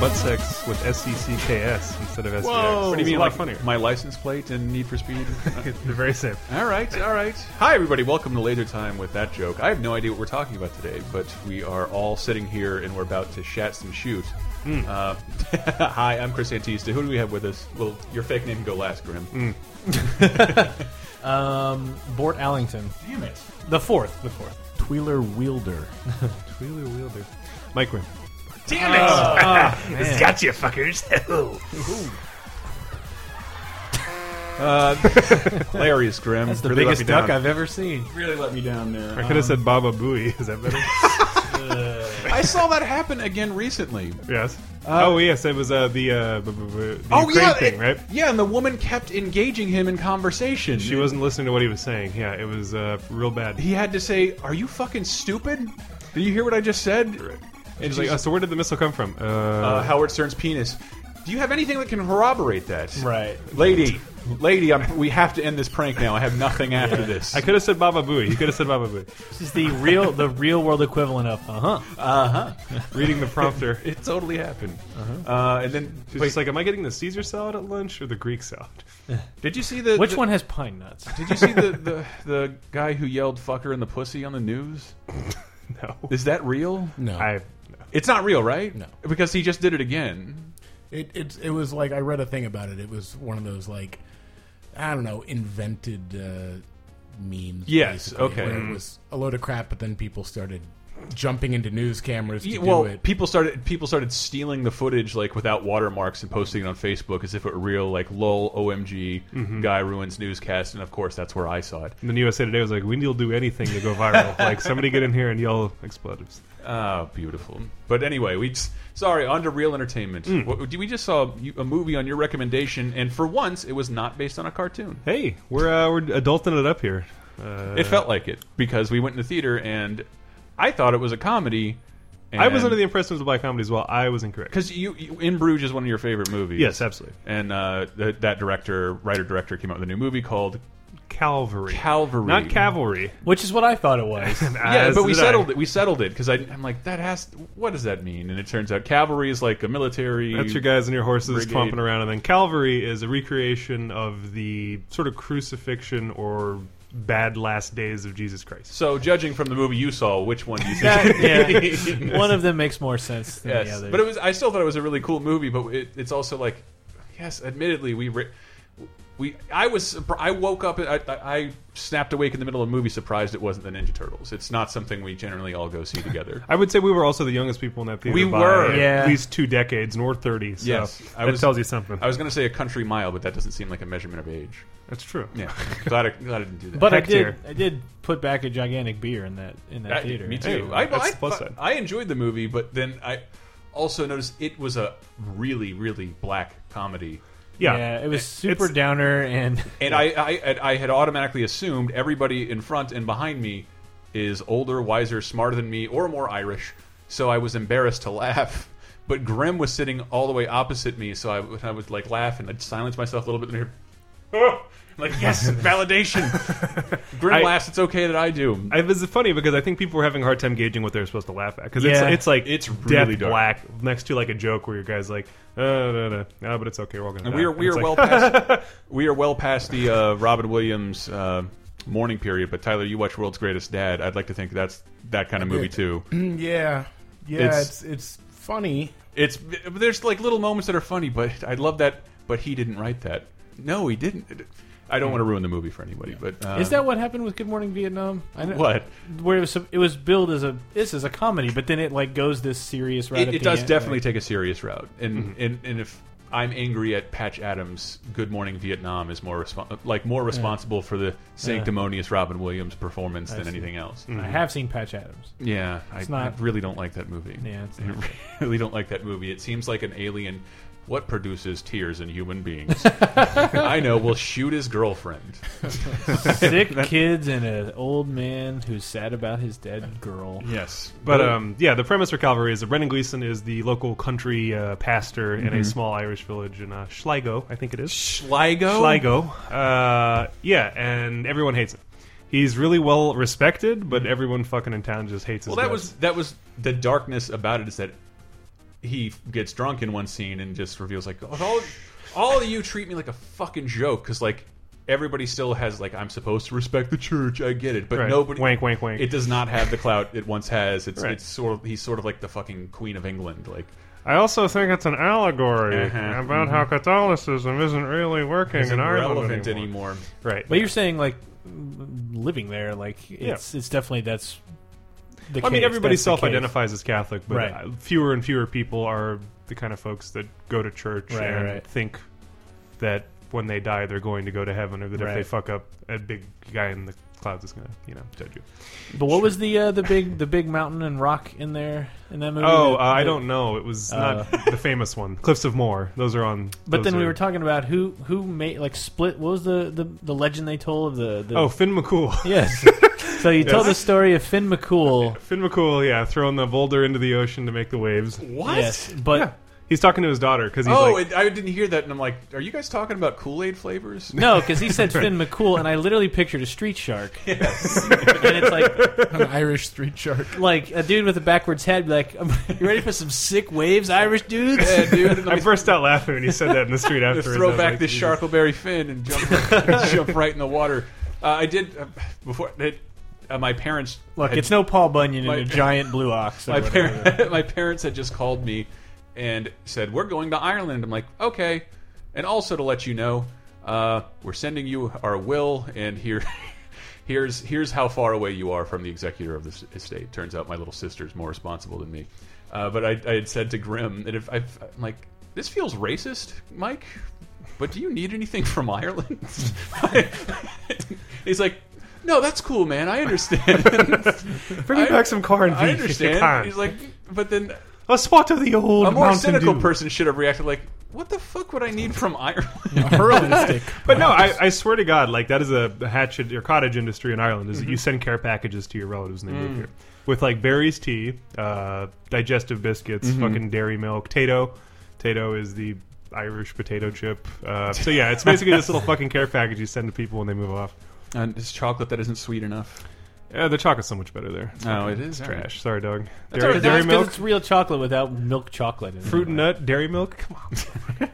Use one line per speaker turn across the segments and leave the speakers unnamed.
butt sex with S E C C K S instead of S. E
What do you mean,
A lot
like
funnier.
my license plate and Need for Speed?
They're very same.
all right, all right. Hi, everybody. Welcome to Laser Time with that joke. I have no idea what we're talking about today, but we are all sitting here and we're about to shat some shoot. Uh, hi, I'm Chris Antista. Who do we have with us? Well, your fake name can go last, Grim.
Um, Bort Allington.
Damn it.
The fourth. The fourth.
Tweeler Wielder.
Wheeler wielder. Mike Grimm.
Damn it! It's got you, fuckers.
Hilarious, Grim.
That's the
Really let me
biggest duck
down.
I've ever seen.
really let me down there.
I could have said Baba Booey. Is that better?
I saw that happen again recently.
yes. oh yes, it was uh, the uh, b- b- b- the Ukraine
Oh, yeah,
thing,
it-
right?
Yeah, and the woman kept engaging him in conversation.
She wasn't listening to what he was saying. Yeah, it was uh, real bad.
He had to say, "Are you fucking stupid? Did you hear what I just said?"
She's like, oh, so where did the missile come from? Uh,
uh, Howard Stern's penis. Do you have anything that can corroborate that?
Right.
lady, lady, I'm, we have to end this prank now. I have nothing after this.
I could have said Baba Booey. You could have said Baba Booey.
This is the real, the real world equivalent of, uh huh.
Reading the prompter.
it totally happened. uh and then,
She's
wait,
just like, am I getting the Caesar salad at lunch or the Greek salad?
did you see the
Which
the-
one has pine nuts?
Did you see the, the the guy who yelled "fucker" in the pussy on the news?
No.
Is that real?
No,
I.
It's not real, right?
No.
because he just did it again.
it, it it was like I read a thing about it. It was one of those like I don't know invented uh, memes.
Yes,
basically,
okay.
Where it was a load of crap, but then people started jumping into news cameras to
Yeah,
do
well,
it.
people started people started stealing the footage like without watermarks and posting it on Facebook as if it were real. Like, lol, OMG,
Mm-hmm.
guy ruins newscast, and of course that's where I saw it.
And then USA Today was like, we need to do anything to go viral. like, somebody get in here and yell expletives.
Ah, beautiful. But anyway, we just, sorry on to real entertainment.
Mm.
What, we just saw you- a movie on your recommendation, and for once, it was not based on a cartoon.
Hey, we're uh, we're adulting it up here. Uh,
It felt like it because we went in the theater and I thought it was a comedy. And
I was under the impression it was a black comedy as well. I was incorrect.
because you, you in Bruges is one of your favorite movies.
Yes, absolutely.
And uh, th that director, writer director, came out with a new movie called
Calvary.
Calvary.
Not cavalry.
Which is what I thought it was.
Yeah,
As
but we
did I.
settled it. We settled it because I'm like, that has. What does that mean? And it turns out cavalry is like a military.
That's your guys and your horses
Brigade.
tromping around, and then Calvary is a recreation of the sort of crucifixion or bad last days of Jesus Christ.
So judging from the movie you saw, which one do you think?
yeah. One of them makes more sense than the
yes,
other.
but it was. I still thought it was a really cool movie, but it, it's also like, yes, admittedly, we re- we I was surpri- I woke up I, I I snapped awake in the middle of a movie, surprised it wasn't the Ninja Turtles. It's not something we generally all go see together.
I would say we were also the youngest people in that theater.
We
by
were.
Yeah.
at least two decades, nor thirty. So
Yes, I
that
was-
tells you something.
I was going to say a country mile, but that doesn't seem like a measurement of age.
That's true.
Yeah, glad I, glad I didn't do that.
But I
Heck
did.
here.
I did put back a gigantic beer in that in that
I-
theater.
me
Hey,
too. I,
that's
I,
the plus side.
I enjoyed the movie, but then I also noticed it was a really, really black comedy.
Yeah.
it was super
It's-
downer and
And I, I, and I had automatically assumed everybody in front and behind me is older, wiser, smarter than me, or more Irish. So I was embarrassed to laugh. But Grimm was sitting all the way opposite me, so I, would- I would like laugh and I'd silence myself a little bit and hear, "Oh!" like yes, validation. Grimm
I-
laughs. It's okay that I do.
I, this is funny because I think people were having a hard time gauging what they were supposed to laugh at because
Yeah.
it's, it's like
It's
death
really dark.
black next to like a joke where your guys like uh, no no no but it's okay we're all gonna
And
die.
we are
And
we
it's
are
like,
well past we are well past the uh, Robin Williams uh, mourning period. But Tyler, you watch World's Greatest Dad. I'd like to think that's that kind of movie
did.
too.
yeah, yeah,
It's-
it's it's, funny.
It's there's like little moments that are funny, but I love that. But he didn't write that. No, he didn't. I don't want to ruin the movie for anybody, but uh,
Mm. Is that what happened with Good Morning Vietnam? I know,
what?
Where it was, it was billed as a this is a comedy, but then it like goes this serious route.
It,
at
it
the
does
end, Mm-hmm.
definitely
like-
take a serious route, and and and if. I'm angry at Patch Adams. Good Morning Vietnam is more respon like more responsible for the sanctimonious Robin Williams performance than
see. Mm-hmm.
anything else.
I have seen Patch Adams.
Yeah, I, I
not-
really don't like that movie.
Yeah, it's
I really don't like that movie. It seems like an alien. What produces tears in human beings? I know. Will shoot his girlfriend.
Sick kids and an old man who's sad about his dead girl.
Yes,
But um, yeah, the premise for Calvary is that Brendan Gleeson is the local country uh, pastor in
Mm-hmm.
a small Irish village in uh, Sligo, I think it is.
Schleigo.
Sligo. Uh, yeah, and everyone hates him. He's really well respected, but everyone fucking in town just hates his
Mm-hmm. Well, that
guts.
was that was the darkness about it. Is that he gets drunk in one scene and just reveals like all all of you treat me like a fucking joke because like everybody still has like I'm supposed to respect the church. I get it, but
Right.
nobody
Wank, wank, wank.
It does not have the clout it once has. It's
Right.
it's sort of he's sort of like the fucking Queen of England. Like
I also think it's an allegory
Uh-huh.
about how Catholicism Mm-hmm. isn't really working
isn't
in Ireland
relevant
anymore.
anymore.
Right.
But you're saying like living there, like it's it's definitely that's. The
I mean,
case.
everybody
That's the case.
self-identifies as Catholic, but
Right.
uh, fewer and fewer people are the kind of folks that go to church
Right,
and
right.
think that when they die they're going to go to heaven, or that if they
Right.
fuck up, a big guy in the clouds is going to, you know, judge you.
But what was the uh, the big the big mountain and rock in there in that movie?
Oh,
That-
uh, I
that-
don't know. It was
Uh.
not the famous one. Cliffs of Moher. Those are on.
But
those
then we
are-
were talking about who who made like split. What was the the, the legend they told of the, the
Oh, Finn McCool.
yes. so you told the story of Finn McCool.
Finn McCool, yeah, throwing the boulder into the ocean to make the waves.
What?
Yes, but
Yeah. He's talking to his daughter because he's
oh,
like,
it, I didn't hear that, and I'm like, are you guys talking about Kool Aid flavors?
no, because he said Finn McCool, and I literally pictured a street shark. and it's like
An Irish street shark.
like a dude with a backwards head, be like, "You ready for some sick waves, Irish dudes?"
yeah, dude. Let
I
me
burst out laughing when he said that in the street
to
afterwards. I
throw
was
back
like,
this
Jesus.
Sharkleberry fin and jump jump right in the water. Uh, I did uh, before it, uh, my parents.
Look,
had-
it's no Paul Bunyan
My-
in a giant blue ox. or
my
whatever.
parents. my parents had just called me and said we're going to Ireland. I'm like, okay, and also to let you know, uh, we're sending you our will, and here. Here's here's how far away you are from the executor of this estate. Turns out my little sister's more responsible than me. Uh, but I, I had said to Grimm that if I, I'm like, this feels racist, Mike. But do you need anything from Ireland? He's like, no, that's cool, man. I understand.
Bring me
I-
back some corn beef
I
if you
understand.
can.
He's like, but then
a spot of the old
a more
Mountain
cynical
Dew.
person should have reacted like, "What the fuck would I need from Ireland?"
A hurling stick.
But no, I, I swear to God, like that is a hatchet or cottage industry in Ireland. Is that
Mm-hmm.
you send care packages to your relatives when they
Mm.
move here with like berries, tea, uh, digestive biscuits,
Mm-hmm.
fucking dairy milk, tato. Tato is the Irish potato chip. Uh, so yeah, it's basically this little fucking care package you send to people when they move off.
and it's chocolate that isn't sweet enough.
Yeah, the chocolate's so much better there. It's
No, it is
trash. Sorry, dog.
That's
Dairy,
all right.
dairy
That's 'cause
milk,
It's real chocolate without milk chocolate. In it.
fruit and nut, dairy milk. Come on,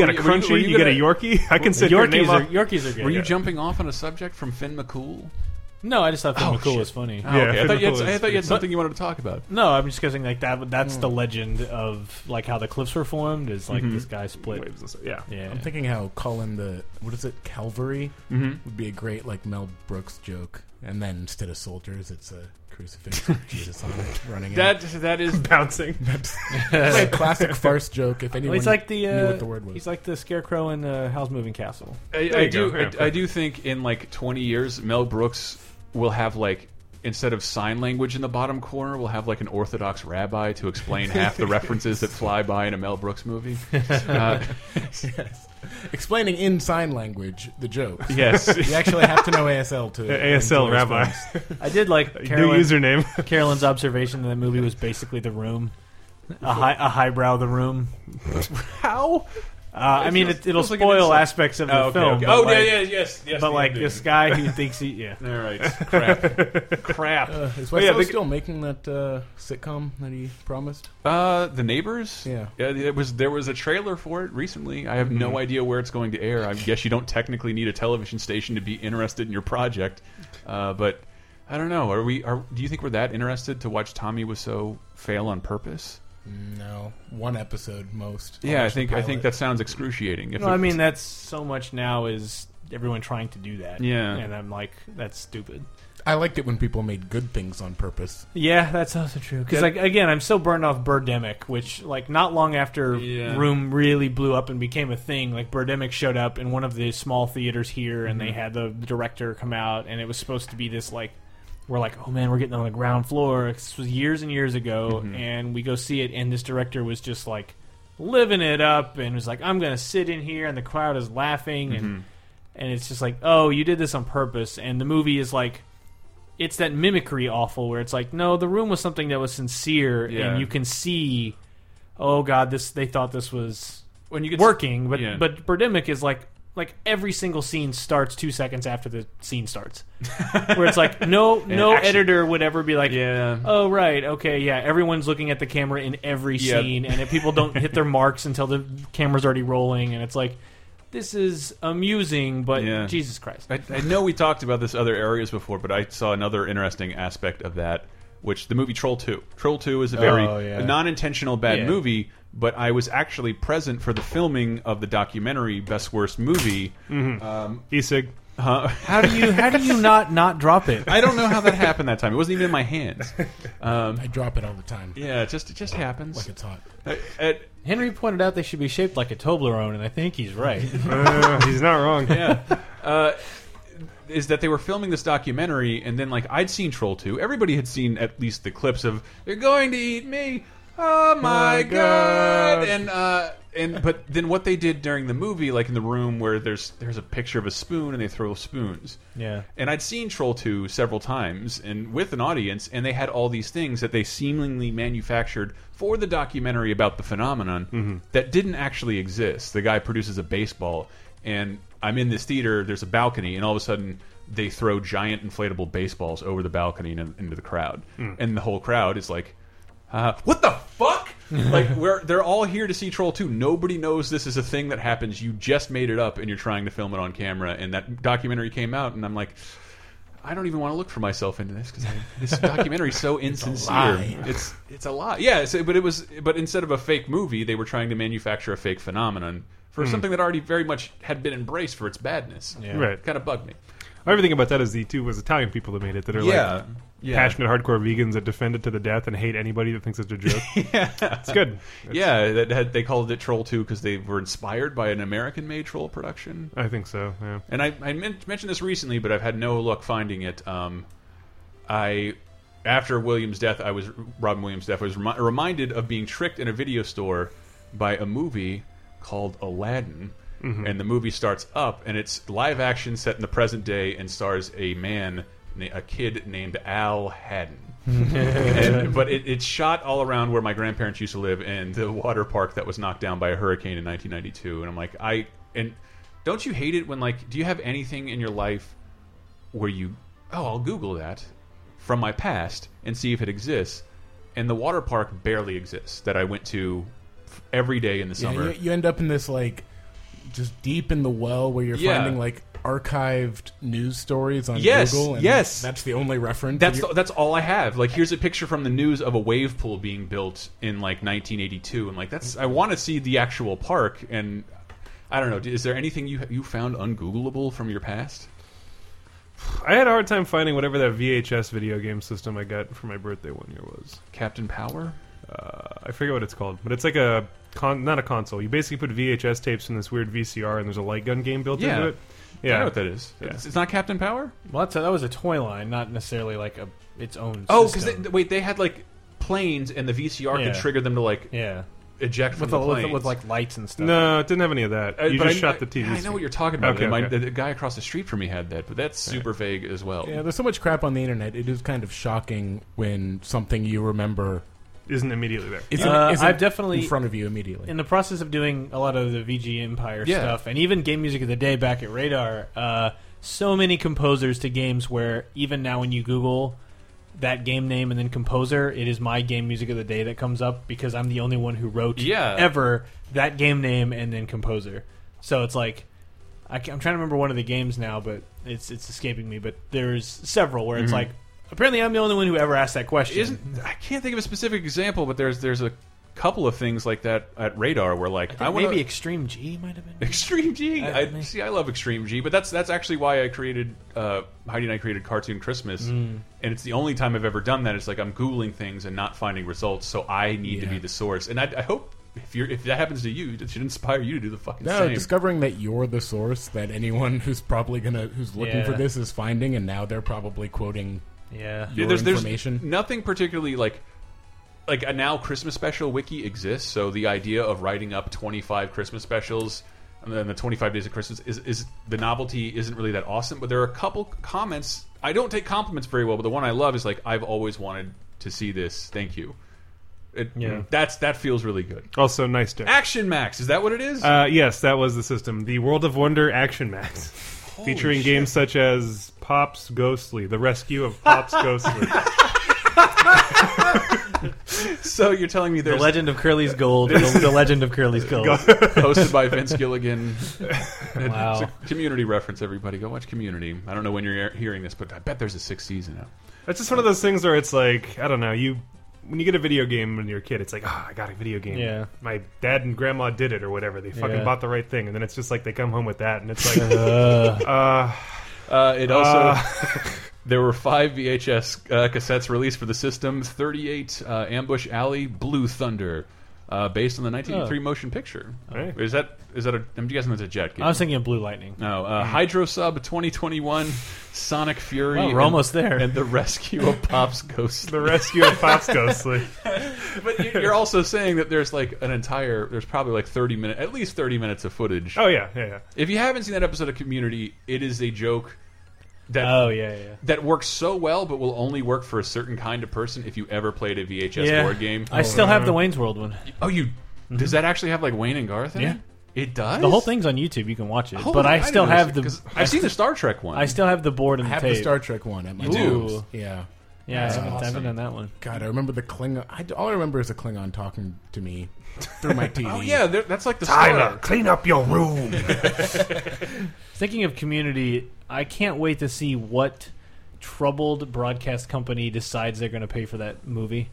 you got a
were were
crunchy,
were
you, get a Yorkie. I can sit here and
Yorkies
name
are
off-
Yorkies are good.
Were you jumping off on a subject from Finn McCool?
No, I just thought Finn
Oh,
McCool
shit.
was funny.
Oh,
Yeah,
okay. I
Finn
thought you had,
McCool
I
is-
thought you had something you wanted to talk about.
No, I'm just guessing like that. That's the legend of like how the cliffs were formed. Is like this guy split.
Waves and stuff. Yeah.
Yeah,
I'm thinking how Cullen the what is it Calvary
Mm-hmm.
would be a great like Mel Brooks joke, and then instead of soldiers, it's a crucifix with Jesus on it running.
That that is
bouncing.
out. It's a classic farce joke. If anyone
he's like the
knew
uh,
what the word was,
he's like the scarecrow in uh, Howl's Moving Castle.
I,
There
I
you
do.
go. Yeah,
I, I do think in like 20 years, Mel Brooks will have like instead of sign language in the bottom corner, we'll have like an Orthodox rabbi to explain half the references that fly by in a Mel Brooks movie. Uh,
explaining in sign language the joke.
yes.
You actually have to know ASL to
ASL
enjoy
rabbi.
films.
I did like
New
Carolyn,
username.
Carolyn's observation in that movie was basically the room, a high a highbrow the room.
How?
Uh, I mean, it, it'll
feels like an
spoil
insult.
aspects of the
Oh, okay,
film.
okay.
but,
Oh,
like,
yeah, yeah, yes, yes.
But
the
like
ending.
this guy who thinks he yeah.
All right, crap, crap.
Uh, is Wes
yeah,
Ellis
they-
still making that uh, sitcom that he promised?
Uh, the neighbors.
Yeah.
It was there was a trailer for it recently. I have no idea where it's going to air. I guess you don't technically need a television station to be interested in your project, uh, but I don't know. Are we? Are do you think we're that interested to watch Tommy Wiseau fail on purpose?
No, one episode most. I'll
Yeah, I
watch the
think I think
pilot.
that sounds excruciating. If
No,
it-
I mean that's so much now is everyone trying to do that.
Yeah.
and I'm like that's stupid.
I liked it when people made good things on purpose.
Yeah, that's also true. Because
Yeah.
like again, I'm so burned off Birdemic, which like not long after
Yeah.
Room really blew up and became a thing, like Birdemic showed up in one of the small theaters here, and they had the director come out, and it was supposed to be this like. We're like, oh man, we're getting on the ground floor. This was years and years ago, and we go see it, and this director was just like living it up, and was like, I'm gonna sit in here, and the crowd is laughing, and
Mm-hmm.
and it's just like, oh, you did this on purpose, and the movie is like it's that mimicry awful where it's like, no, the room was something that was sincere,
Yeah.
and you can see, oh god, this they thought this was
when you could
working, but
yeah.
but Birdemic is like, like every single scene starts two seconds after the scene starts, where it's like no no
action.
editor would ever be like
Yeah.
Oh right, okay, yeah. Everyone's looking at the camera in every
Yeah.
scene, and if people don't hit their marks until the camera's already rolling, and it's like, this is amusing, but
Yeah.
Jesus Christ,
I, I know we talked about this other areas before, but I saw another interesting aspect of that, which the movie Troll Two. Troll Two is a very
Oh, yeah.
non-intentional bad
Yeah.
movie, but I was actually present for the filming of the documentary Best Worst Movie.
Isig.
how do you how do you not not drop it?
I don't know how that happened that time. It wasn't even in my hands.
I drop it all the time.
Yeah, it just it just happens.
Like it's hot.
Uh, at-
Henry pointed out they should be shaped like a Toblerone, and I think he's right.
Uh, he's not wrong.
is that they were filming this documentary, and then like I'd seen Troll Two. Everybody had seen at least the clips of "They're going to eat me." Oh my
my
god.
God.
And uh, and but then what they did during the movie, like in the room where there's there's a picture of a spoon, and they throw spoons.
Yeah.
And I'd seen Troll 2 several times and with an audience, and they had all these things that they seemingly manufactured for the documentary about the phenomenon that didn't actually exist. The guy produces a baseball, and I'm in this theater, there's a balcony, and all of a sudden they throw giant inflatable baseballs over the balcony and in- into the crowd. And the whole crowd is like, uh, what the fuck? like we're they're all here to see Troll 2. Nobody knows this is a thing that happens. You just made it up and you're trying to film it on camera and that documentary came out and I'm like I don't even want to look for myself into this because this documentary's so insincere.
lie.
It's it's a lie. Yeah, it's, but it was but instead of a fake movie, they were trying to manufacture a fake phenomenon for
Hmm.
something that already very much had been embraced for its badness. Yeah.
Right.
Kind of bugged me.
Everything about that is the two was Italian people that made it that are like
yeah.
passionate hardcore vegans that defend it to the death and hate anybody that thinks it's a joke. It's good. It's-
Yeah, that had, they called it Troll 2 because they were inspired by an American-made Troll production.
I think so. Yeah.
And I, I men- mentioned this recently, but I've had no luck finding it. Um, I after Williams' death, I was Robin Williams' death. I was remi reminded of being tricked in a video store by a movie called Aladdin. And the movie starts up, and it's live action set in the present day, and stars a man, na- a kid named Al Haddon. And- but it, it's shot all around where my grandparents used to live and the water park that was knocked down by a hurricane in 1992 and i'm like i and don't you hate it when like do you have anything in your life where you oh i'll google that from my past and see if it exists and the water park barely exists that i went to f- every day in the
Yeah,
summer
you, you end up in this like just deep in the well where you're
Yeah.
finding like archived news stories on
Yes,
Google. And
yes.
that's the only reference.
That's
You're-
that's all I have. Like, here's a picture from the news of a wave pool being built in like 1982, and like that's I want to see the actual park. And I don't know, is there anything you you found ungoogleable from your past?
I had a hard time finding whatever that VHS video game system I got for my birthday one year was.
Captain Power?
Uh, I forget what it's called, but it's like a con- not a console. You basically put VHS tapes in this weird VCR, and there's a light gun game built
Yeah.
into it.
I
Yeah,
know what that is. It's, it's not Captain Power.
Well, that's a, that was a toy line, not necessarily like a its own.
Oh, because
system.
wait, they had like planes, and the VCR
Yeah.
could trigger them to like
yeah,
eject from
with,
the,
the, with, the-
planes.
with like lights and stuff.
no, it didn't have any of that.
Uh,
you
but
just
I-
shot the TV.
I, I know
screen.
what you're talking about.
Okay,
and my-
okay.
the, the guy across the street from me had that, but that's super vague as well.
yeah, there's so much crap on the internet. It is kind of shocking when something you remember
Isn't immediately there.
isn't,
Uh,
isn't
I've definitely-
in front of you immediately.
in the process of doing a lot of the VG Empire
Yeah.
stuff and even Game Music of the Day back at Radar, uh, so many composers to games where even now when you Google that game name and then composer, it is my Game Music of the Day that comes up because I'm the only one who wrote
Yeah.
ever that game name and then composer. So it's like. I am trying to remember one of the games now, but it's it's escaping me. But there's several where it's like apparently I'm the only one who ever asked that question.
Mm-hmm. isn't I can't think of a specific example, but there's there's a couple of things like that at Radar where like I, want
maybe
to
Extreme G might have been.
Extreme G.
I
I,
don't know.
see. I love Extreme G, but that's that's actually why I created uh, Heidi and I created Cartoon Christmas, and it's the only time I've ever done that. It's like I'm googling things and not finding results, so I need to
Yeah.
be the source. And I, I hope if you're if that happens to you, it should inspire you to do the fucking
no,
same.
discovering that you're the source that anyone who's probably gonna who's looking for
Yeah.
this is finding, and now they're probably quoting
Yeah.
your
there's, there's
information.
nothing particularly like like a now Christmas special wiki exists. So the idea of writing up 25 Christmas specials and then the 25 days of Christmas is, is the novelty isn't really that awesome. But there are a couple comments. I don't take compliments very well, but the one I love is like I've always wanted to see this. Thank you. It,
Yeah.
That's that feels really good.
Also, nice deck.
Action Max, is that what it is?
Uh, yes, that was the system. The World of Wonder Action Max, featuring
shit.
games such as Pops Ghostly, The Rescue of Pops Ghostly.
so you're telling me
The
there's
Legend of Curly's Gold. the, the Legend of Curly's Gold.
hosted by Vince Gilligan.
Wow.
It's a community reference, everybody. Go watch Community. I don't know when you're hearing this, but I bet there's a sixth season out.
That's just one of those things where it's like I don't know you. When you get a video game when you're a kid, it's like, oh, I got a video game.
Yeah.
My dad and grandma did it or whatever. They fucking
Yeah.
bought the right thing. And then it's just like they come home with that. And it's like,
Uh,
uh,
Uh, it also
Uh.
there were five VHS uh, cassettes released for the system. Thirty-eight uh, Ambush Alley, Blue Thunder, uh, based on the 1983 motion picture.
Right.
Is that is that a? I'm guessing that's a jet game.
I was thinking of Blue Lightning.
no, uh, Hydro Sub 2021, Sonic Fury.
Well, we're
and-
almost there.
And the Rescue of Pop's Ghost.
the rescue of Pops Ghostly.
but you- you're also saying that there's like an entire, there's probably like 30 minute, at least 30 minutes of footage.
Oh, yeah, yeah, yeah.
If you haven't seen that episode of Community, it is a joke that
Oh yeah, yeah.
that works so well, but will only work for a certain kind of person if you ever played a VHS
yeah.
board game.
I still have the Wayne's World one.
oh, you does that actually have like Wayne and Garth? In
Yeah.
it, it does.
The whole thing's on YouTube. You can watch it.
Holy-
but I,
didn't
still
notice
have
it,
the
'cause I've seen the Star Trek one.
I still have the board and
I
the
have
tape.
the Star Trek one at my
You do?
house. Yeah.
yeah, I haven't- I haven't
awesome.
done that one.
God, I remember the Klingon. I, all I remember is a Klingon talking to me through my TV.
oh yeah, there- that's like the
Tyler,
Star.
clean up your room.
Thinking of community, I can't wait to see what troubled broadcast company decides they're going to pay for that movie.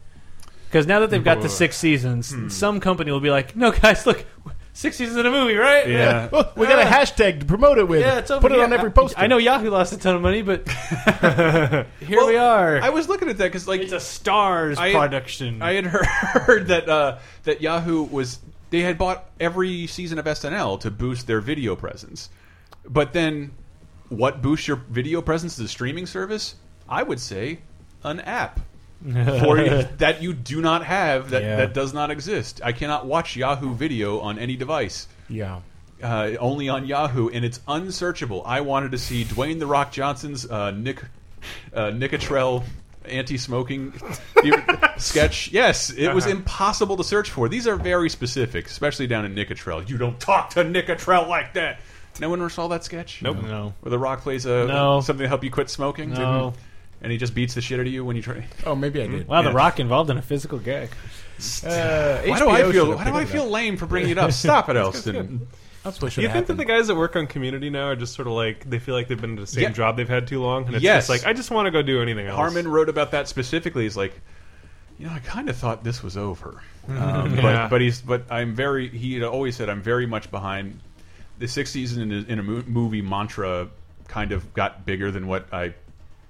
Because now that they've got the six seasons, some company will be like, "No, guys, look, six seasons in a movie, right?
Yeah.
Oh, we got a hashtag to promote it with.
yeah, it's over
Put it
here.
on every
I-
poster.
I know Yahoo lost a ton of money, but here we
Well,
are.
I was looking at that because like
it's a stars
I-
production.
I had heard that uh, that Yahoo was they had bought every season of SNL to boost their video presence, but then what boosts your video presence is a streaming service? I would say an app for you, that you do not have that
Yeah.
that does not exist. I cannot watch Yahoo Video on any device.
Yeah.
Uh, only on Yahoo, and it's unsearchable. I wanted to see Dwayne the Rock Johnson's uh, Nick uh, Nicotrell anti-smoking sketch. Yes, it was impossible to search for. These are very specific, especially down in Nicotrell. You don't talk to Nicotrell like that. No one ever saw that sketch. Nope.
no.
Where the Rock plays a
No.
something to help you quit smoking.
No.
And he just beats the shit out of you when you try.
Oh, maybe I did.
Wow, The
Yeah.
Rock involved in a physical gag.
Uh,
Why do I feel? Why do I feel lame for bringing it up? Stop it, Elston.
Do you think that the guys that work on Community now are just sort of like, they feel like they've been at the same
Yeah.
job they've had too long? And it's
Yes.
just like, I just want to go do anything else.
Harmon wrote about that specifically. He's like, you know, I kind of thought this was over, um,
Yeah.
but but he's but I'm very. He had always said I'm very much behind the sixth season in a, in a mo- movie mantra. Kind of got bigger than what I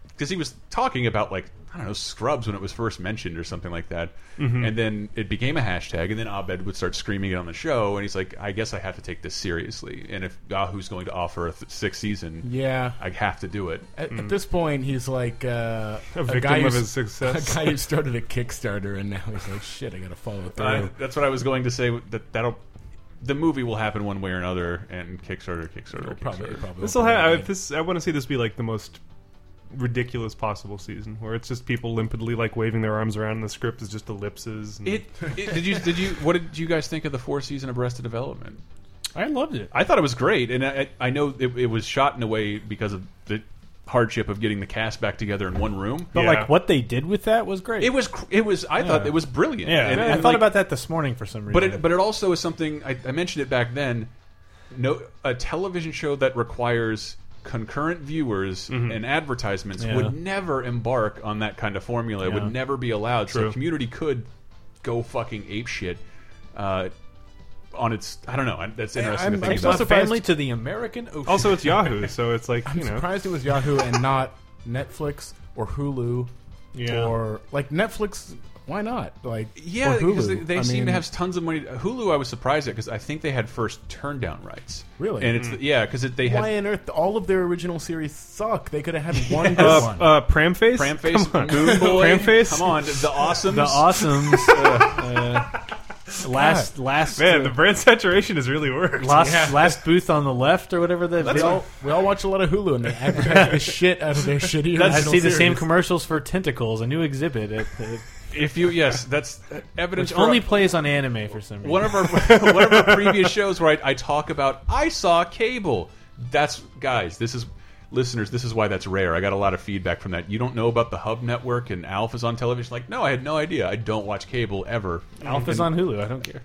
because he was talking about like I don't know Scrubs when it was first mentioned or something like that,
Mm-hmm.
and then it became a hashtag, and then Abed would start screaming it on the show, and he's like, I guess I have to take this seriously, and if Yahoo's going to offer a th sixth season,
Yeah.
I have to do it.
At, at this point, he's like uh,
Hmm. A victim
guy
of
who's-
his success.
A guy who started a Kickstarter and now he's like, shit, I gotta follow through.
I, that's what I was going to say. That that'll the movie will happen one way or another, and Kickstarter, Kickstarter, Kickstarter.
probably, probably.
This will have this. I want to see this be like the most ridiculous possible season, where it's just people limpidly like waving their arms around, and the script is just ellipses. And
It, it- did you did you what did you guys think of the fourth season of Arrested Development?
I loved it.
I thought it was great, and I I know it, it was shot in a way because of the hardship of getting the cast back together in one room.
But
Yeah.
like what they did with that was great.
It was cr- it was I thought
Yeah.
it was brilliant.
Yeah,
And-
I
and,
thought
like,
about that this morning for some reason.
But it, but it also is something I, I mentioned it back then. No, a television show that requires concurrent viewers and advertisements
Yeah.
would never embark on that kind of formula. It
Yeah.
would never be allowed. So
True.
Community could go fucking ape shit uh, on its. I don't know. I- That's interesting
I'm-
to
I'm
think Oh,
so
about.
my
surprised-
family to the American Ocean.
also, it's Yahoo, so it's like
I'm
you know.
surprised it was Yahoo and not Netflix or Hulu
Yeah.
or like Netflix. Why not? Like
yeah,
or Hulu.
because they, they
I
seem to
mean,
have tons of money. Hulu, I was surprised at because I think they had first turn down rights.
Really?
and it's yeah because they had
Why on earth all of their original series suck? They could have had one good
Uh,
one.
uh, Pramface,
Pramface,
Come on.
Moon Boy,
Pramface?
come on, the awesome,
the awesomes. uh, uh, last last
Man, the
uh,
brand saturation has really worked.
last last booth on the left or whatever the
we, all, we all watch a lot of Hulu and they advertise the shit out of their shitty original
I see the
series.
same commercials for tentacles, a new exhibit at the
If you yes, that's evidence.
Which
for-
only plays on anime for some reason.
one of our one of our previous shows where I, I talk about I saw cable. That's guys, this is listeners, this is why that's rare. I got a lot of feedback from that. You don't know about the Hub Network and Alpha's on television. Like, no, I had no idea. I don't watch cable ever.
Alpha's on Hulu. I don't care.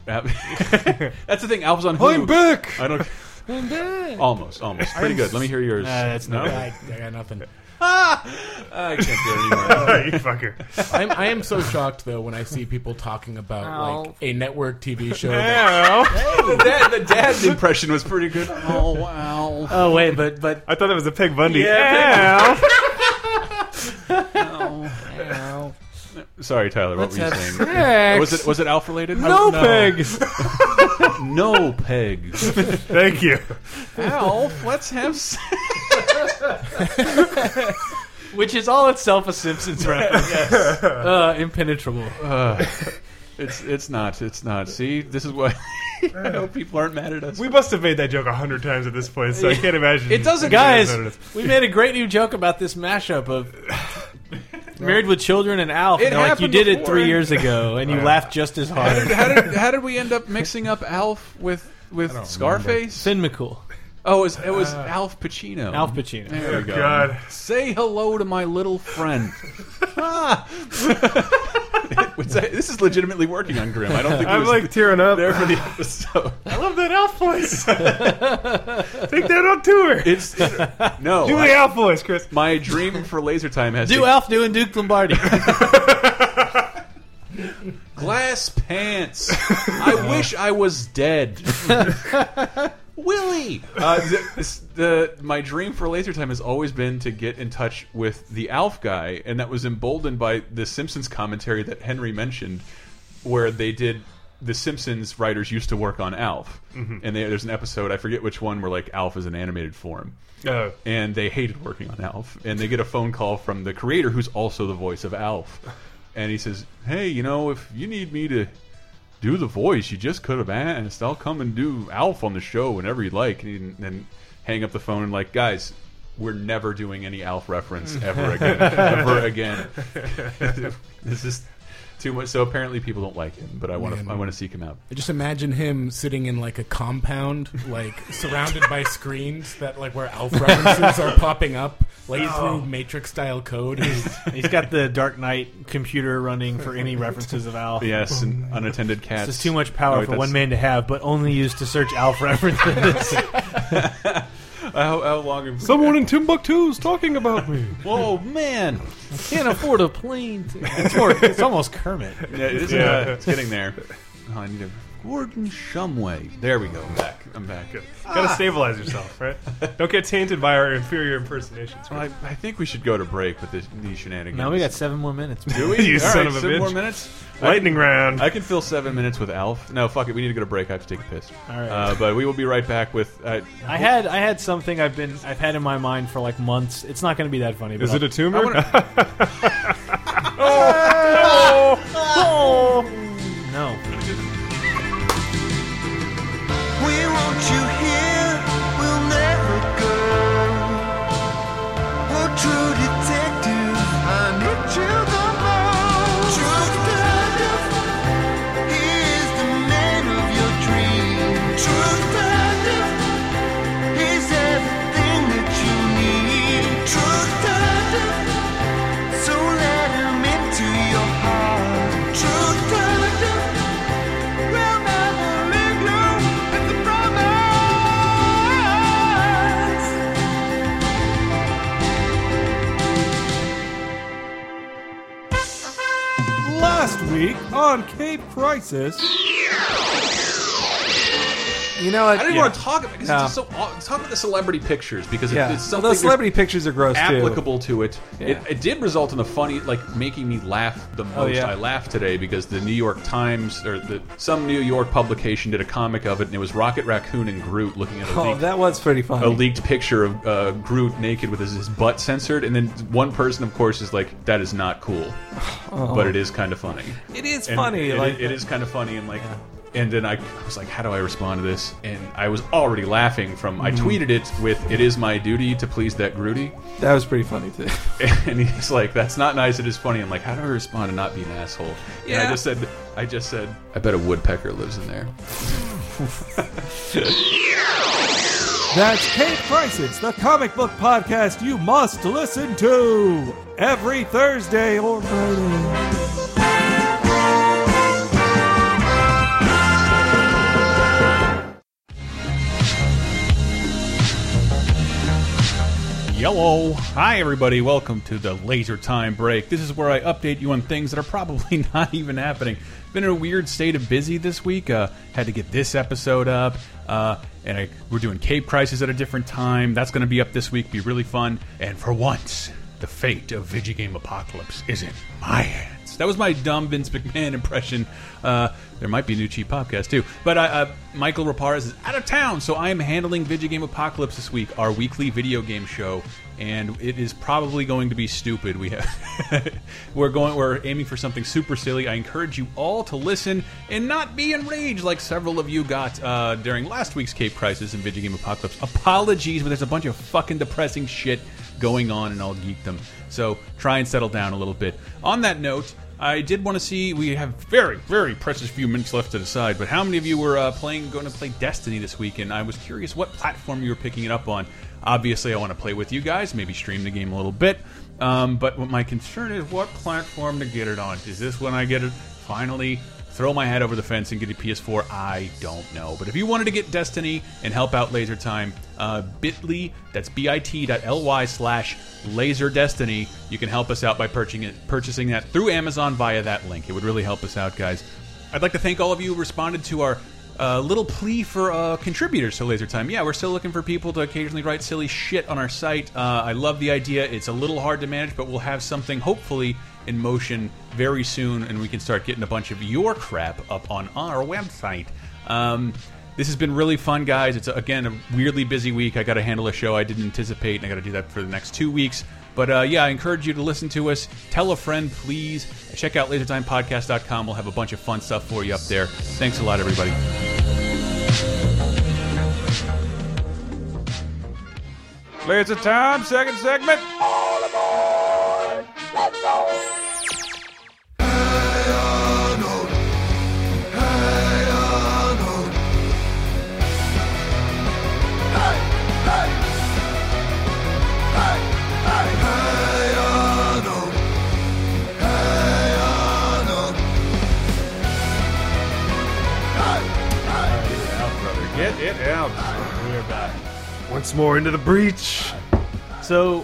that's the thing. Alpha's on Hulu.
I'm back.
I don't. Almost, almost. Pretty good. Let me hear yours.
Nah, that's not
no.
I, I got nothing.
I can't do it anymore.
you fucker.
I'm, I am so shocked though when I see people talking about like
Ow.
a network TV show. that-
the, dad, the dad's impression was pretty good. Oh wow.
Oh wait, but but
I thought that was a Peg Bundy.
Yeah,
Ow.
Sorry, Tyler. What were you
have
saying? Was it was it Alf related?
No, pegs.
No pegs.
Thank you.
Alf, let's have sex.
Which is all itself a Simpsons reference. uh, impenetrable.
Uh, it's it's not. It's not. See, this is why I hope people aren't mad at us.
We must have made that joke a hundred times at this point, so I can't imagine.
It doesn't-
anybody
Guys,
noticed.
we made a great new joke about this mashup of Married with Children and Alf.
It
and they're like you
happened
did it
before."
three years ago, and you laughed just as
how, did,
hard.
how, did, how did we end up mixing up Alf with with Scarface?
Finn McCool,
Oh, it was, it was
Ah.
Alf Pacino.
Alf Pacino.
There we go.
Oh, God.
Say hello to my little friend. Ah. What's that- this is legitimately working on Grimm. I don't think it
I'm
was
like tearing up.
there for the episode.
I love that elf voice. Take that on tour.
It's no.
Do
I-
the elf voice, Chris.
my dream for Laser Time has
Do
to
Alf doing Duke Lombardi.
Glass pants. I wish I was dead. Willie. Uh, the, this- the- my dream for Laser Time has always been to get in touch with the Alf guy, and that was emboldened by the Simpsons commentary that Henry mentioned, where they did the Simpsons writers used to work on Alf, and they, there's an episode I forget which one where like Alf is an animated form.
Oh.
and they hated working on Alf. And they get a phone call from the creator, who's also the voice of Alf, and he says, "Hey, you know, if you need me to do the voice, you just could have asked. I'll come and do Alf on the show whenever you'd like." And then hang up the phone and like, guys. We're never doing any Alf reference ever again. ever again. this is too much. So apparently people don't like him, but I want
Man.
to. I want to seek him out.
I just imagine him sitting in like a compound, like surrounded by screens that like where Alf references are popping up, like
Oh.
through Matrix style code. He's-
He's got the Dark Knight computer running for any references of Alf.
Yes,
Oh
and unattended cats.
This is too much power
Oh, wait,
for one
that's-
man to have, but only used to search Alf references.
How, how long? Have we-
Someone in Timbuktu's talking about me.
Whoa, man!
Can't afford a plane. It's, more, it's almost Kermit.
Yeah, it is, uh,
Yeah.
it's getting there. Oh, I need a Gordon Shumway. There we go. I'm back. I'm back.
Good. Gotta
Ah.
stabilize yourself, right? Don't get tainted by our inferior impersonations.
Well, I, I think we should go to break with this, these shenanigans.
Now we got seven more minutes.
Do we?
You
All
son
right,
of a
seven more
bitch.
minutes.
Lightning round.
I can fill seven minutes with Alf. No, fuck it. We need to go to break. I have to take a piss.
All right.
Uh, but we will be right back with. Uh,
I had I had something I've been I've had in my mind for like months. It's not going to be that funny. But
Is it
I'll-
a tumor?
no?
We want you here, we'll never go. Oh, true detective, I need you the most. True detective, he is the man of your dream. True detective, he's everything that you need. True detective, so let him into your heart. True detective.
Last week on Cape Crisis. You know what?
I didn't want to talk about because
No.
it's just so. aw- Talk about the celebrity pictures because it-
Yeah.
it's
Well,
something.
those celebrity pictures are gross too.
applicable to it. it.
Yeah. Oh,
It did result in the funny, like making me laugh the most.
yeah.
I laughed today because the New York Times or the some New York publication did a comic of it, and it was Rocket Raccoon and Groot looking at a
Oh,
leaked,
that was pretty funny.
a
Oh.
leaked picture of uh, Groot naked with his, his butt censored, and then one person, of course, is like, "That
Oh.
is not cool," but it is kind of funny.
It is
And
funny.
it-
like
it is kind of funny, and like. And then I, I was like, how do I respond to this? And I was already laughing from, I
Mm-hmm.
tweeted it with, it is my duty to please that Grudy.
That was pretty funny too.
And he's like, that's not nice, it is funny. I'm like, how do I respond to not be an asshole? And I just said, I just said, I bet a woodpecker lives in there.
That's Kate Price's the comic book podcast you must listen to every Thursday or Friday.
Yellow. Hi, everybody. Welcome to the Laser Time Break. This is where I update you on things that are probably not even happening. Been in a weird state of busy this week. Uh, had to get this episode up, uh, and I, we're doing Cape Crisis at a different time. That's going to be up this week. Be really fun. And for once, the fate of Vigigame Apocalypse is in my hands. That was my dumb Vince McMahon impression. Uh, there might be a new cheap podcast too. But uh, uh, Michael Raparez is out of town, so I am handling Video Game Apocalypse this week, our weekly video game show, and it is probably going to be stupid. We have we're going we're aiming for something super silly. I encourage you all to listen and not be enraged like several of you got uh, during last week's Cape Crisis and Video Game Apocalypse. Apologies, but there's a bunch of fucking depressing shit going on, and I'll geek them. So try and settle down a little bit. On that note. I did want to see. We have very, very precious few minutes left to decide. But how many of you were uh, playing, going to play Destiny this week? And I was curious what platform you were picking it up on. Obviously, I want to play with you guys, maybe stream the game a little bit. Um, but what my concern is what platform to get it on. Is this when I get it finally? Throw my head over the fence and get a PS4. I don't know. But if you wanted to get Destiny and help out Laser Time, uh, bit.ly, that's bit.ly slash laser destiny. You can help us out by purchasing it, purchasing that through Amazon via that link. It would really help us out, guys. I'd like to thank all of you who responded to our uh, little plea for uh, contributors to Laser Time. Yeah, we're still looking for people to occasionally write silly shit on our site. Uh, I love the idea. It's a little hard to manage, but we'll have something hopefully in motion very soon, and we can start getting a bunch of your crap up on our website. Um, this has been really fun, guys. It's again a weirdly busy week. I got to handle a show I didn't anticipate, and I got to do that for the next two weeks. But uh, yeah, I encourage you to listen to us. Tell a friend, please. Check out lasertimepodcast.com. We'll have a bunch of fun stuff for you up there. Thanks a lot, everybody.
Laser time, second segment.
Get it out.
Once more into the breach.
So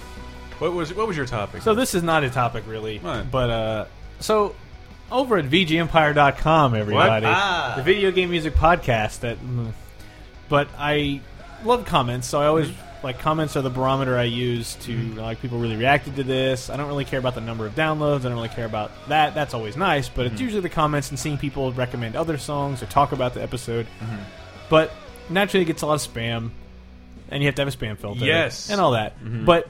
What was what was your topic?
So this is not a topic really,
Right.
but uh, so over at VGEmpire.com, everybody,
Ah.
the video game music podcast. That, mm. but I love comments, so I always
Mm-hmm.
like comments are the barometer I use to like people really reacted to this. I don't really care about the number of downloads. I don't really care about that. That's always nice, but
Mm-hmm.
it's usually the comments and seeing people recommend other songs or talk about the episode.
Mm-hmm.
But naturally, it gets a lot of spam, and you have to have a spam filter,
Yes. Mm-hmm.
and all that. But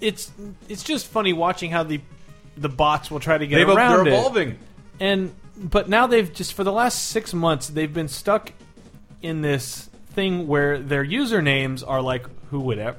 it's it's just funny watching how the the bots will try to get
They've,
around
they're
it.
evolving.
And but now they've just for the last six months they've been stuck in this thing where their usernames are like who would ever.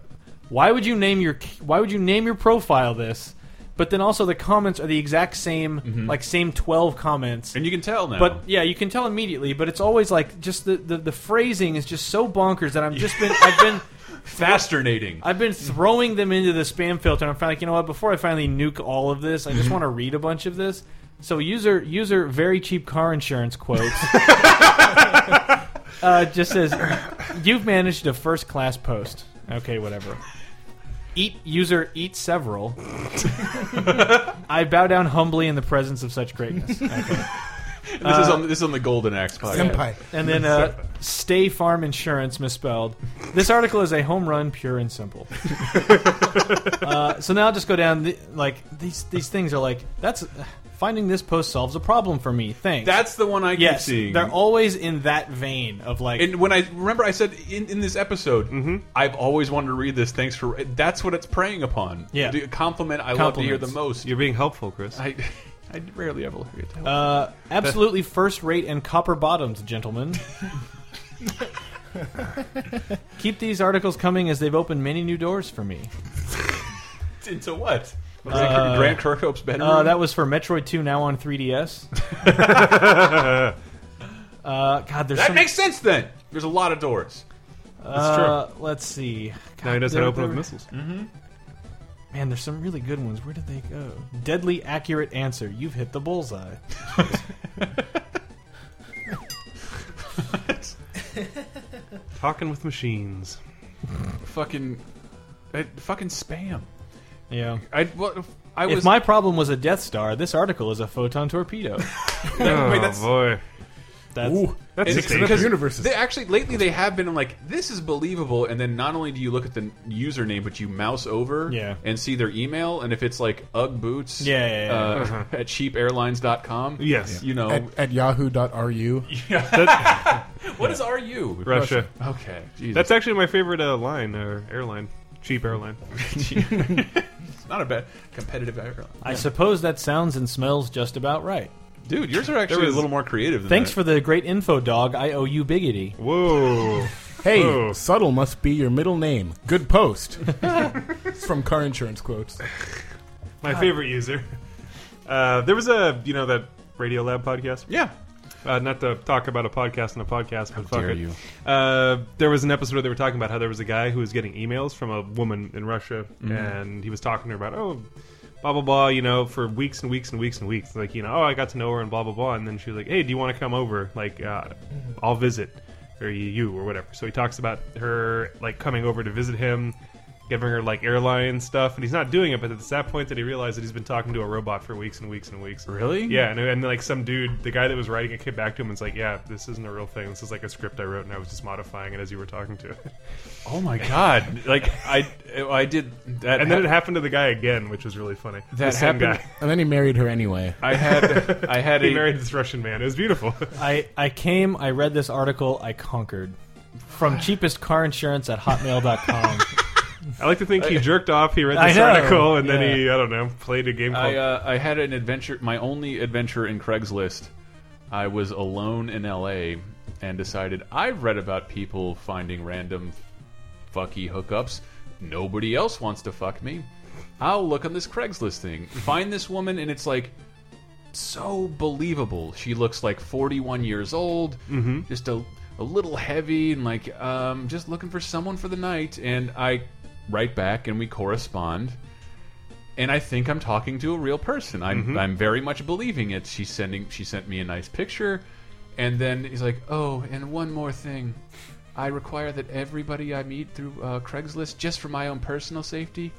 Why would you name your Why would you name your profile this? But then also the comments are the exact same,
Mm-hmm.
like same twelve comments.
And you can tell now.
But yeah, you can tell immediately. But it's always like just the, the, the phrasing is just so bonkers that I'm just been I've been
fascinating.
I've been throwing them into the spam filter. and I'm finally like, you know what? Before I finally nuke all of this, I just want to read a bunch of this. So user user very cheap car insurance quotes. uh, just says, "You've managed a first class post." Okay, whatever. Eat user eat several. I bow down humbly in the presence of such greatness. Okay.
this is on this is on the Golden Axe podcast.
Senpai.
And then uh, stay farm insurance misspelled. This article is a home run, pure and simple. uh, so now I'll just go down. The, like these these things are like that's finding this post solves a problem for me. Thanks.
That's the one I keep
yes.
seeing.
They're always in that vein of like
and when I remember, I said in, in this episode,
Mm-hmm.
I've always wanted to read this. Thanks for that's what it's preying upon.
Yeah.
the compliment I love to hear the
Compliments.
most.
You're being helpful, Chris.
I, I rarely ever look at that.
Uh, absolutely first rate and copper bottomed, gentlemen. Keep these articles coming as they've opened many new doors for me.
Into what? Was that Grant Kirkhope's bedroom?
Uh, that was for Metroid 2 now on 3DS. uh, God, there's
That
some,
makes sense then. There's a lot of doors.
uh, Let's see.
Now he knows how
there-
to open
there-
with missiles.
Man, there's some really good ones. Where did they go? Deadly accurate answer. You've hit the bullseye.
Talking with machines.
Fucking, uh, fucking spam.
Yeah.
I well, I
If
was
my problem was a Death Star, this article is a photon torpedo.
Oh
wait, that's-
boy,
That's
that's
It's-
insane.
because
universe is-
They actually lately they have been like this is believable, and then not only do you look at the username, but you mouse over
Yeah.
and see their email, and if it's like UGG boots
Yeah, yeah, yeah.
Uh, at cheapairlines.com,
Yes.
you
oh.
know
At, at yahoo.ru.
what is RU?
Russia.
Okay, Jesus.
That's actually my favorite uh, line or airline. Cheap airline.
It's not a bad competitive airline.
I suppose that sounds and smells just about right.
Dude, yours are actually a
was-
little more creative. Than
Thanks
that.
for the great info, dog. I owe you biggity.
Whoa.
Hey,
Oh.
subtle must be your middle name. Good post. it's from car insurance quotes.
my favorite user. Uh, there was a you know that Radio Lab podcast.
yeah.
Uh, not to talk about a podcast and a podcast, but fuck
dare
it.
you.
Uh, there was an episode where they were talking about how there was a guy who was getting emails from a woman in Russia,
Mm-hmm.
and he was talking to her about oh, blah blah blah, you know, for weeks and weeks and weeks and weeks, like you know, oh, I got to know her and blah blah blah, and then she was like, hey, do you want to come over? Like, uh, I'll visit or you or whatever. So he talks about her like coming over to visit him. Giving her like airline stuff, and he's not doing it. But it's that point that he realized that he's been talking to a robot for weeks and weeks and weeks.
Really?
Yeah, and, and like some dude, the guy that was writing it came back to him and was like, "Yeah, this isn't a real thing. This is like a script I wrote, and I was just modifying it as you were talking to." it."
Oh my god! Like I, I did that,
And then it happened to the guy again, which was really funny.
That
the same
happened-
guy.
And then he married her anyway.
I had, I had
He
a
married this Russian man. It was beautiful.
I, I came, I read this article, I conquered. From cheapest car insurance at hotmail.com.
I like to think he jerked off. He read
I
this
know,
article, and
yeah.
then he, I don't know, played a game called.
I, uh, I had an adventure. My only adventure in Craigslist. I was alone in L.A. and decided I've read about people finding random fucky hookups. Nobody else wants to fuck me. I'll look on this Craigslist thing. Find this woman, and it's like so believable. She looks like 41 years old,
Mm-hmm.
just a, a little heavy, and like um, just looking for someone for the night. And I write back, and we correspond. And I think I'm talking to a real person. I'm
Mm-hmm.
I'm very much believing it. She's sending she sent me a nice picture, and then he's like, oh, and one more thing. I require that everybody I meet through uh, Craigslist, just for my own personal safety,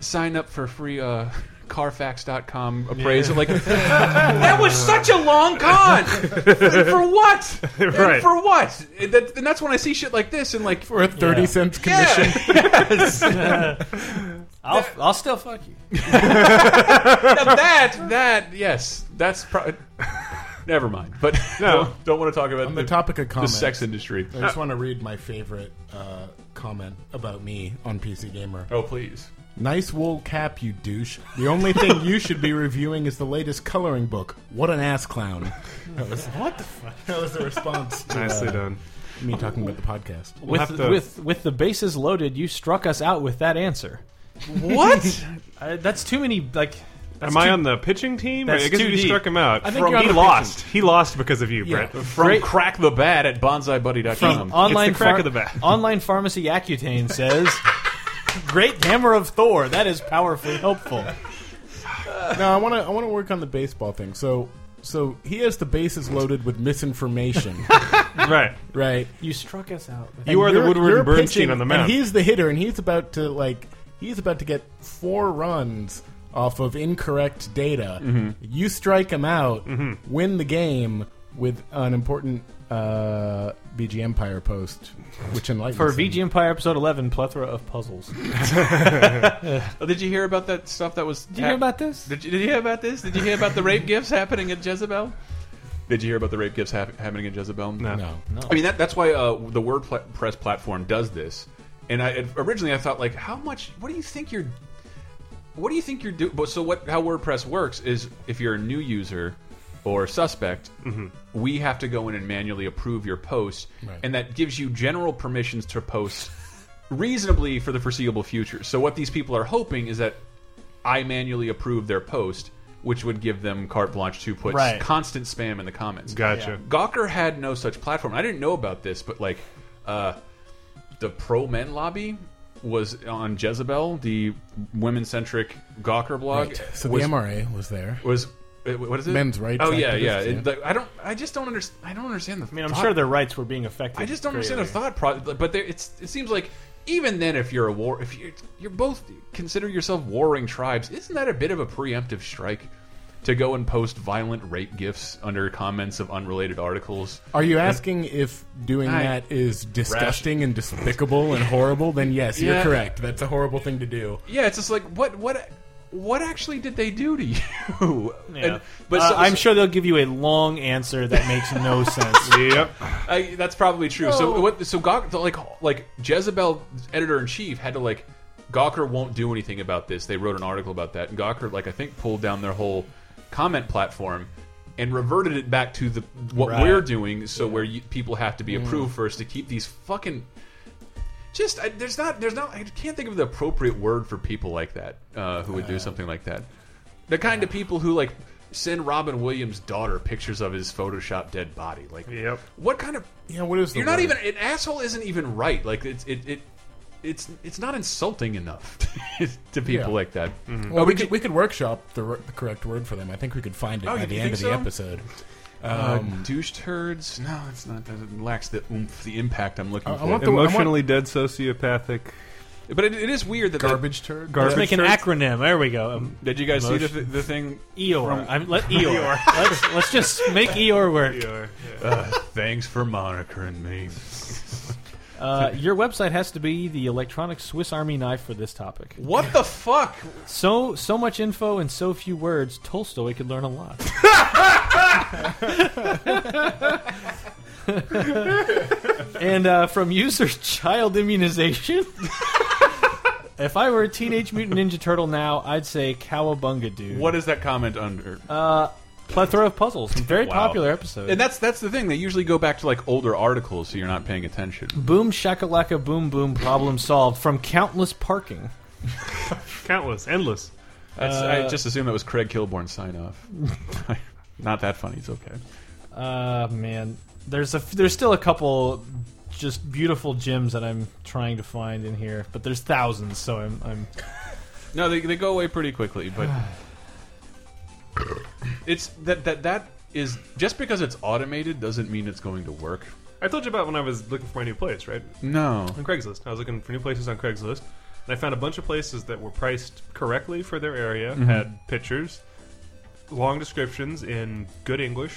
sign up for free uh, Carfax.com appraisal. Like that was such a long con for, for what?
Right.
For what? And, that, and that's when I see shit like this and like
For a 30
Yeah.
cents commission.
I'll, I'll still fuck you.
Now that that yes, that's pro- never mind. But
No.
don't, don't want to talk about
On the topic of
the
comments,
sex industry.
I just want to read my favorite uh, comment about me on PC Gamer.
Oh please.
Nice wool cap, you douche. The only thing you should be reviewing is the latest coloring book. What an ass clown. That was, what the fuck? That was the response to
Nicely
uh,
done.
me talking about the podcast.
With,
have to-
with, with the bases loaded, you struck us out with that answer.
What?
I, that's too many, like. That's
Am I
too-
on the pitching team?
That's
I guess
too
you
deep.
struck him out.
I think
From-
you're on
he
the
lost. He lost because of you, Brett.
From crack the bat at bonsai
From online
crack
phar-
of the bat.
online pharmacy Accutane says, "Great hammer of Thor. That is powerfully helpful."
No, I want to. I want to work on the baseball thing. So, so he has the bases loaded with misinformation,
Right.
right?
You struck us out. with-
You are the
you're-
Woodward
you're
and Bernstein
pitching,
on the mound.
And he's the hitter, and he's about to like he's about to get four runs off of incorrect data.
Mm-hmm.
You strike him out, win the game with an important uh, BG Empire post, which enlightens
For
him.
VG Empire episode eleven, plethora of puzzles. Did
Oh, did you hear about that stuff that was? Did
you hear about this?
Did you, did you hear about this? Did you hear about the rape gifts happening at Jezebel? Did you hear about the rape gifts hap happening at Jezebel?
No.
No,
I mean, that, that's why uh, the WordPress platform does this. And I originally I thought like, how much? What do you think you're? What do you think you're doing? But so what? How WordPress works is if you're a new user or suspect, we have to go in and manually approve your post, and that gives you general permissions to post reasonably for the foreseeable future. So what these people are hoping is that I manually approve their post, which would give them carte blanche to put
Right.
constant spam in the comments.
Gotcha.
Gawker had no such platform. I didn't know about this, but like, uh, the pro men lobby was on Jezebel, the women centric Gawker blog.
So
was,
the MRA was there.
was uh, what is it?
Men's rights
Oh yeah, yeah.
activists,
It-
yeah.
like, I don't. I just don't understand. I don't understand the.
I mean, I'm sure their rights were being affected.
I just don't understand the
greatly.
thought process. But there, it's it seems like even then, if you're a war, if you're you're both consider yourself warring tribes, isn't that a bit of a preemptive strike? To go and post violent rape gifs under comments of unrelated articles.
Are you asking if doing
I-
that is disgusting and despicable and horrible? Then yes,
Yeah.
you're correct. That's a horrible thing to do.
Yeah, it's just like what what what actually did they do to you?
Yeah.
And- but
Uh,
so-
I'm
so-
sure they'll give you a long answer that makes no sense.
Yep.
I, that's probably true. So what? So Gawk, like like Jezebel editor in chief had to like Gawker won't do anything about this. They wrote an article about that, and Gawker like I think pulled down their whole comment platform and reverted it back to the what
Right.
we're doing. So where you, people have to be approved first to keep these fucking. Just I, there's not there's not I can't think of the appropriate word for people like that uh, who would do something like that. The kind of people who like send Robin Williams' daughter pictures of his Photoshop dead body. Like,
Yep.
what kind of
Yeah, what is the
you're not
word?
even an asshole. Isn't even right. Like it's it. it it's it's not insulting enough to people
Yeah. Mm-hmm.
like that.
Well, Oh, we could we could workshop the, r- the correct word for them. I think we could find it
Oh,
by
you
the
think
end of the
so?
episode.
Uh,
Um,
douche turds. No, it's not. That it lacks the oomph, the impact I'm looking
I- I
for.
want the-
Emotionally dead sociopathic.
but it, it is weird that the-
garbage turd.
Gar-
Let's make an acronym. There we go. Um,
did you guys see the, the thing?
Eeyore. I'm, let Eeyore. let's, let's just make Eeyore work.
Uh,
Thanks for monikering me.
Uh, your website has to be the electronic Swiss Army knife for this topic.
What the fuck?
So so much info and so few words. Tolstoy could learn a lot. and uh, from user child immunization. if I were a Teenage Mutant Ninja Turtle now, I'd say cowabunga dude.
What is that comment under?
Uh,
plethora of puzzles? Very
Wow.
popular episode.
and that's that's the thing. They usually go back to like older articles, so you're not paying attention.
boom shakalaka boom boom problem solved from countless parking.
Countless. Endless.
That's,
Uh,
I just assume that was Craig Kilborn's sign off. Not that funny. It's okay.
Uh man, there's a there's still a couple just beautiful gems that I'm trying to find in here, but there's thousands, so I'm I'm
No, they, they go away pretty quickly, but it's that that that is just because it's automated doesn't mean it's going to work.
I told you about when I was looking for my new place, right?
No.
On Craigslist. I was looking for new places on Craigslist, and I found a bunch of places that were priced correctly for their area, had pictures, long descriptions in good English,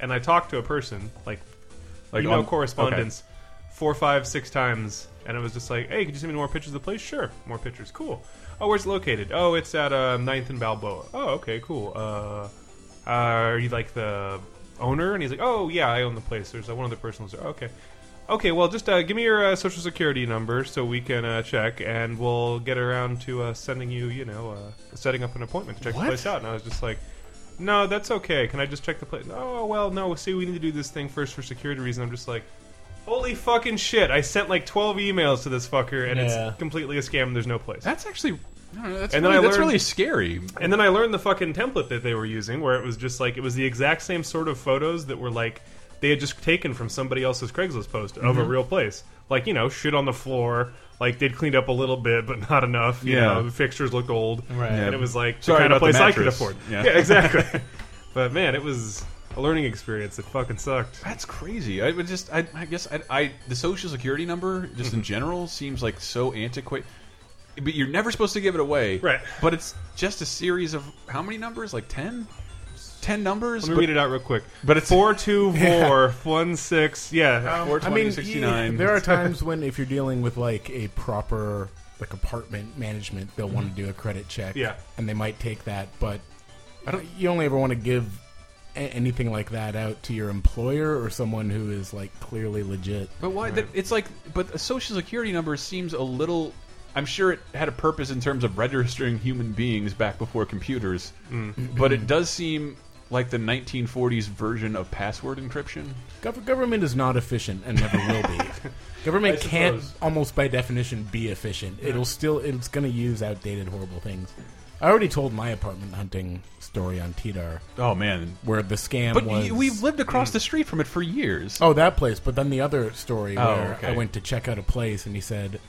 and I talked to a person, like,
Like
email
on-
correspondence, four, five, six times, and it was just like, hey, could you send me more pictures of the place? Sure, more pictures, cool. Oh, where's it located? Oh, it's at uh, 9th and Balboa. Oh, okay, cool. Uh, uh, are you like the owner? And he's like, oh yeah, I own the place. There's uh, one other person. who's there. Okay, okay. Well, just uh, give me your uh, social security number so we can uh, check, and we'll get around to uh, sending you, you know, uh, setting up an appointment to check the place out. And I was just like. No, that's okay. Can I just check the place? Oh well, no. See, we need to do this thing first for security reasons. I'm just like, holy fucking shit! I sent like 12 emails to this fucker, and
Yeah.
it's completely a scam. And there's no place.
That's actually I don't know, that's,
And then
really,
I
that's
learned-
really scary.
And then I learned the fucking template that they were using, where it was just like it was the exact same sort of photos that were like they had just taken from somebody else's Craigslist post of a
Mm-hmm.
real place. Like you know, shit on the floor. Like they'd cleaned up a little bit, but not enough. You
Yeah.
know, the fixtures looked old, right. and it was like
Sorry
the kind of
about the
place I could
mattress.
afford.
Yeah.
exactly. but man, it was a learning experience. that fucking sucked.
That's crazy. I would just I, I guess I, I the social security number just
Mm-hmm.
in general seems like so antiquated. But you're never supposed to give it away.
Right.
But it's just a series of how many numbers? Like 10? 10 numbers?
Let me
But-
read it out real quick.
but it's-
four two four one six. Yeah,
Um,
420, 69.
there are times when if you're dealing with like a proper like apartment management, they'll want to do a credit check.
Yeah.
and they might take that, but I don't. You only ever want to give a- anything like that out to your employer or someone who is like clearly legit.
But why? That, it's like, but a social security number seems a little I'm sure it had a purpose in terms of registering human beings back before computers, but it does seem like the 1940s version of password encryption.
Gov- government is not efficient and never will be. government can't
suppose.
almost by definition be efficient. It'll still it's going to use outdated horrible things. I already told my apartment hunting story on TDAR
Oh man.
where the scam
But
was
y- we've lived across the street from it for years.
Oh, that place. But then the other story
Oh,
where
okay.
I went to check out a place and he said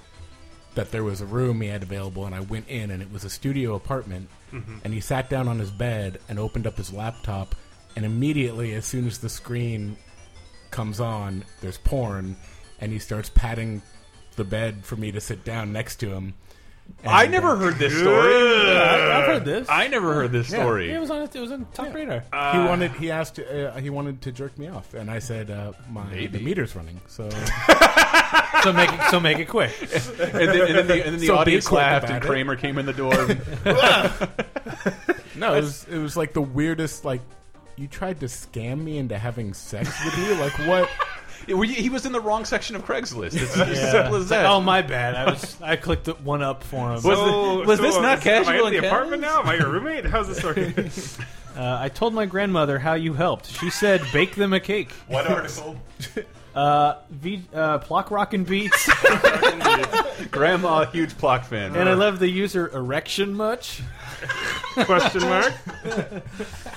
that there was a room he had available, and I went in and it was a studio apartment.
Mm-hmm.
And he sat down on his bed and opened up his laptop, and immediately, as soon as the screen comes on, there's porn, and he starts patting the bed for me to sit down next to him.
I
And,
never
uh,
heard this story.
I've heard this.
I never heard this
Yeah.
story.
it was on. It was on top radar.
uh,
he wanted. He asked. Uh, he wanted to jerk me off, and I said, uh, "My the meter's running." So
So make it, so make it quick.
and then, and then the, and then the
So be
audience
quick
laughed,
about
and
it.
Kramer came in the door.
No, it was, it was like the weirdest. Like you tried to scam me into having sex with you. Like what?
It- we- he was in the wrong section of Craigslist. It's as simple as
It's like,
that.
oh my bad. I was. I clicked it one up for him.
So-
was this
so, uh,
not
Am I
casual
in the
and
apartment now? Am I your roommate? How's this working?
Uh, I told my grandmother how you helped. She said, "Bake them a cake."
what article?
Uh, v, uh, Plock Rockin' Beats,
Grandma, huge Plock fan.
and I love the user erection much.
Question mark.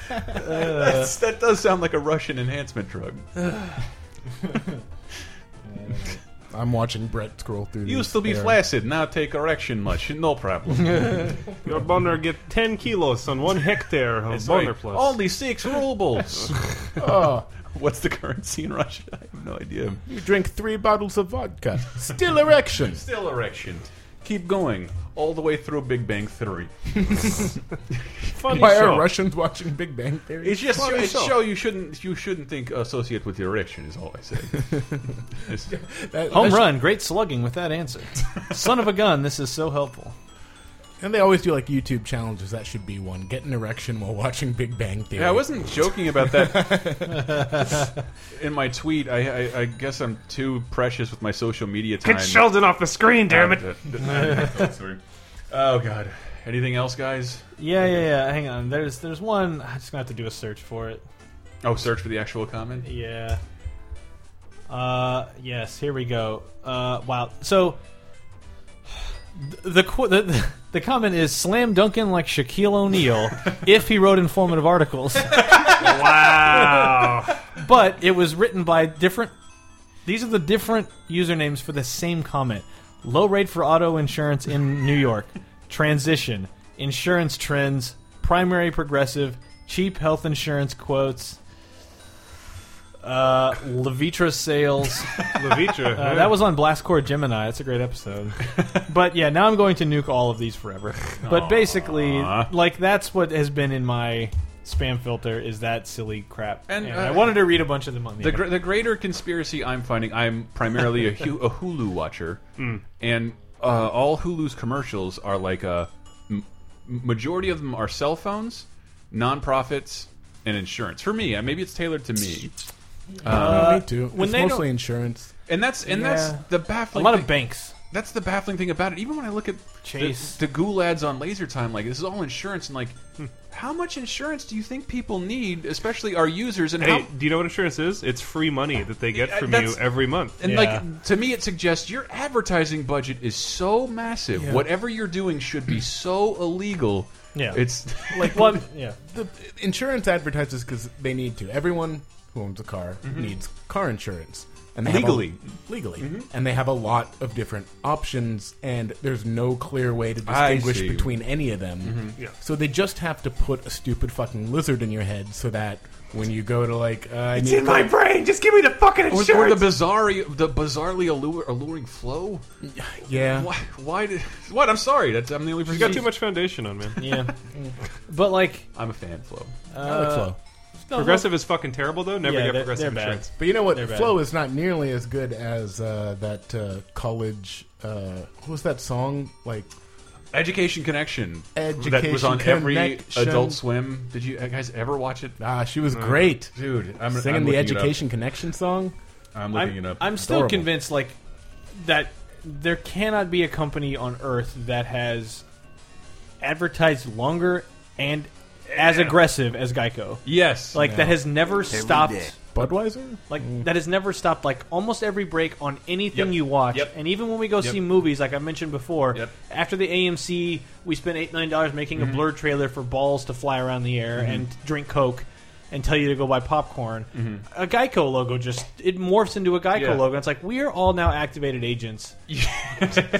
That's, that does sound like a Russian enhancement drug.
I'm watching Brett scroll through. these
Used to be
there.
flaccid, now take erection much. No problem.
Your boner get 10 kilos on one hectare of boner
Sorry,
plus.
Only six rubles. What's the currency in Russia? I have no idea.
You drink three bottles of vodka, still erection.
Still erection. Keep going all the way through Big Bang Theory.
Funny
Why
show.
are Russians watching Big Bang Theory?
It's just
Funny
it's
show.
show you shouldn't you shouldn't think associate with your erection is all I say. It's-
That-
Home
that's-
run, great slugging with that answer. Son of a gun, this is so helpful.
And they always do like YouTube challenges. That should be one. Get an erection while watching Big Bang Theory.
Yeah, I wasn't joking about that. In my tweet, I, I, I guess I'm too precious with my social media time.
Get Sheldon off the screen, damn it.
oh God! Anything else, guys?
Yeah, yeah, yeah. Hang on. There's there's one. I'm just gonna have to do a search for it.
Oh, search for the actual comment.
Yeah. Uh, yes. Here we go. Uh, wow. So th- the qu- the- the the comment is slam dunking like Shaquille O'Neal if he wrote informative articles,
Wow.
but it was written by different. These are the different usernames for the same comment. Low rate for auto insurance in New York. Transition. Insurance trends. Primary progressive. Cheap health insurance quotes. Uh, Levitra sales.
Levitra.
Uh, that was on Blast Core Gemini. That's a great episode. but yeah, now I'm going to nuke all of these forever. But basically, like that's what has been in my spam filter is that silly crap.
And,
And,
uh,
I wanted to read a bunch of them on the.
The, gr- the greater conspiracy I'm finding, I'm primarily a, hu- a Hulu watcher, and uh, all Hulu's commercials are like a m- majority of them are cell phones, nonprofits, and insurance. For me, uh, maybe it's tailored to me,
Uh, me too.
when
it's
they don't-
mostly insurance.
and that's and
Yeah.
that's the
a
baffling.
lot
thing-
of banks.
that's the baffling thing about it. Even when I look at
Chase.
the, the ghoul ads on Laser Time, like this is all insurance, and like how much insurance do you think people need, especially our users? And
Hey,
how,
do you know what insurance is? It's free money that they get
Yeah,
from you
that's-
every month.
and
Yeah.
like to me, it suggests your advertising budget is so massive. Whatever you're doing should be so illegal.
Yeah.
it's
Like well, yeah.
The insurance advertises because they need to. Everyone who owns a car needs car insurance, and they have a-
Mm-hmm. Legally. Mm-hmm.
legally, and they have a lot of different options, and there's no clear way to
I
distinguish
see. Mm-hmm.
between any of them.
Yeah.
So they just have to put a stupid fucking lizard in your head, so that when you go to like, uh, I
It's
need
in my brain. Just give me the fucking
or,
insurance.
or the bizarre, the bizarrely allure, alluring flow.
yeah,
Why? Why did? What? I'm sorry. That's I'm the only person.
You got too much foundation on, man.
Yeah. but like
I'm a fan. Flow.
Alex Lowe.
Progressive is fucking terrible, though. Never
Yeah,
get
they're-
progressive
they're bad.
insurance.
But you know what?
They're bad.
Flow is not nearly as good as uh, that uh, college. Uh, what was that song like?
Education Connection.
Education
that was on every
Connection.
Adult Swim. Did you uh, guys ever watch it?
Ah, she was great.
Dude, I'm
Singing
I'm
the
looking it up.
Education Connection song.
I'm looking
I'm,
it up.
I'm still
Adorable.
convinced like that there cannot be a company on earth that has advertised longer and as aggressive as Geico.
Yes.
Like that has never stopped.
day.
Budweiser?
Like that has never stopped. Like almost every break on anything
Mm. Yep.
you watch,
Yep.
and even when we go see movies, like I mentioned before,
Yep. Mm-hmm.
after the AMC, we spent eight nine dollars making a blur trailer for balls to fly around the air and drink Coke, and tell you to go buy popcorn. A Geico logo just it morphs into a Geico
Mm-hmm. Yeah.
logo. It's like we are all now activated agents.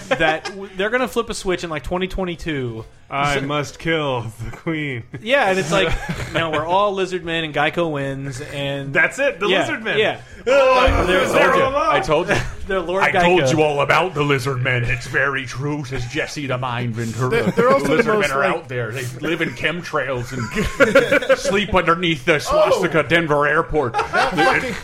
that w- they're gonna flip a switch in like twenty twenty two.
I must kill the queen.
Yeah, and it's like now we're all lizard men and Geico wins, and
That's it. The
yeah,
lizard man.
Yeah,
Oh,
There's
there
told you.
alone.
I told you.
they're Lord
I
Geico.
told you all about the lizard men. It's very true, says Jesse the Mind Ventura.
They're- they're also the
lizard
most,
men are
like-
out there. They live in chemtrails and sleep underneath the swastika Denver airport.
Oh. Fucking-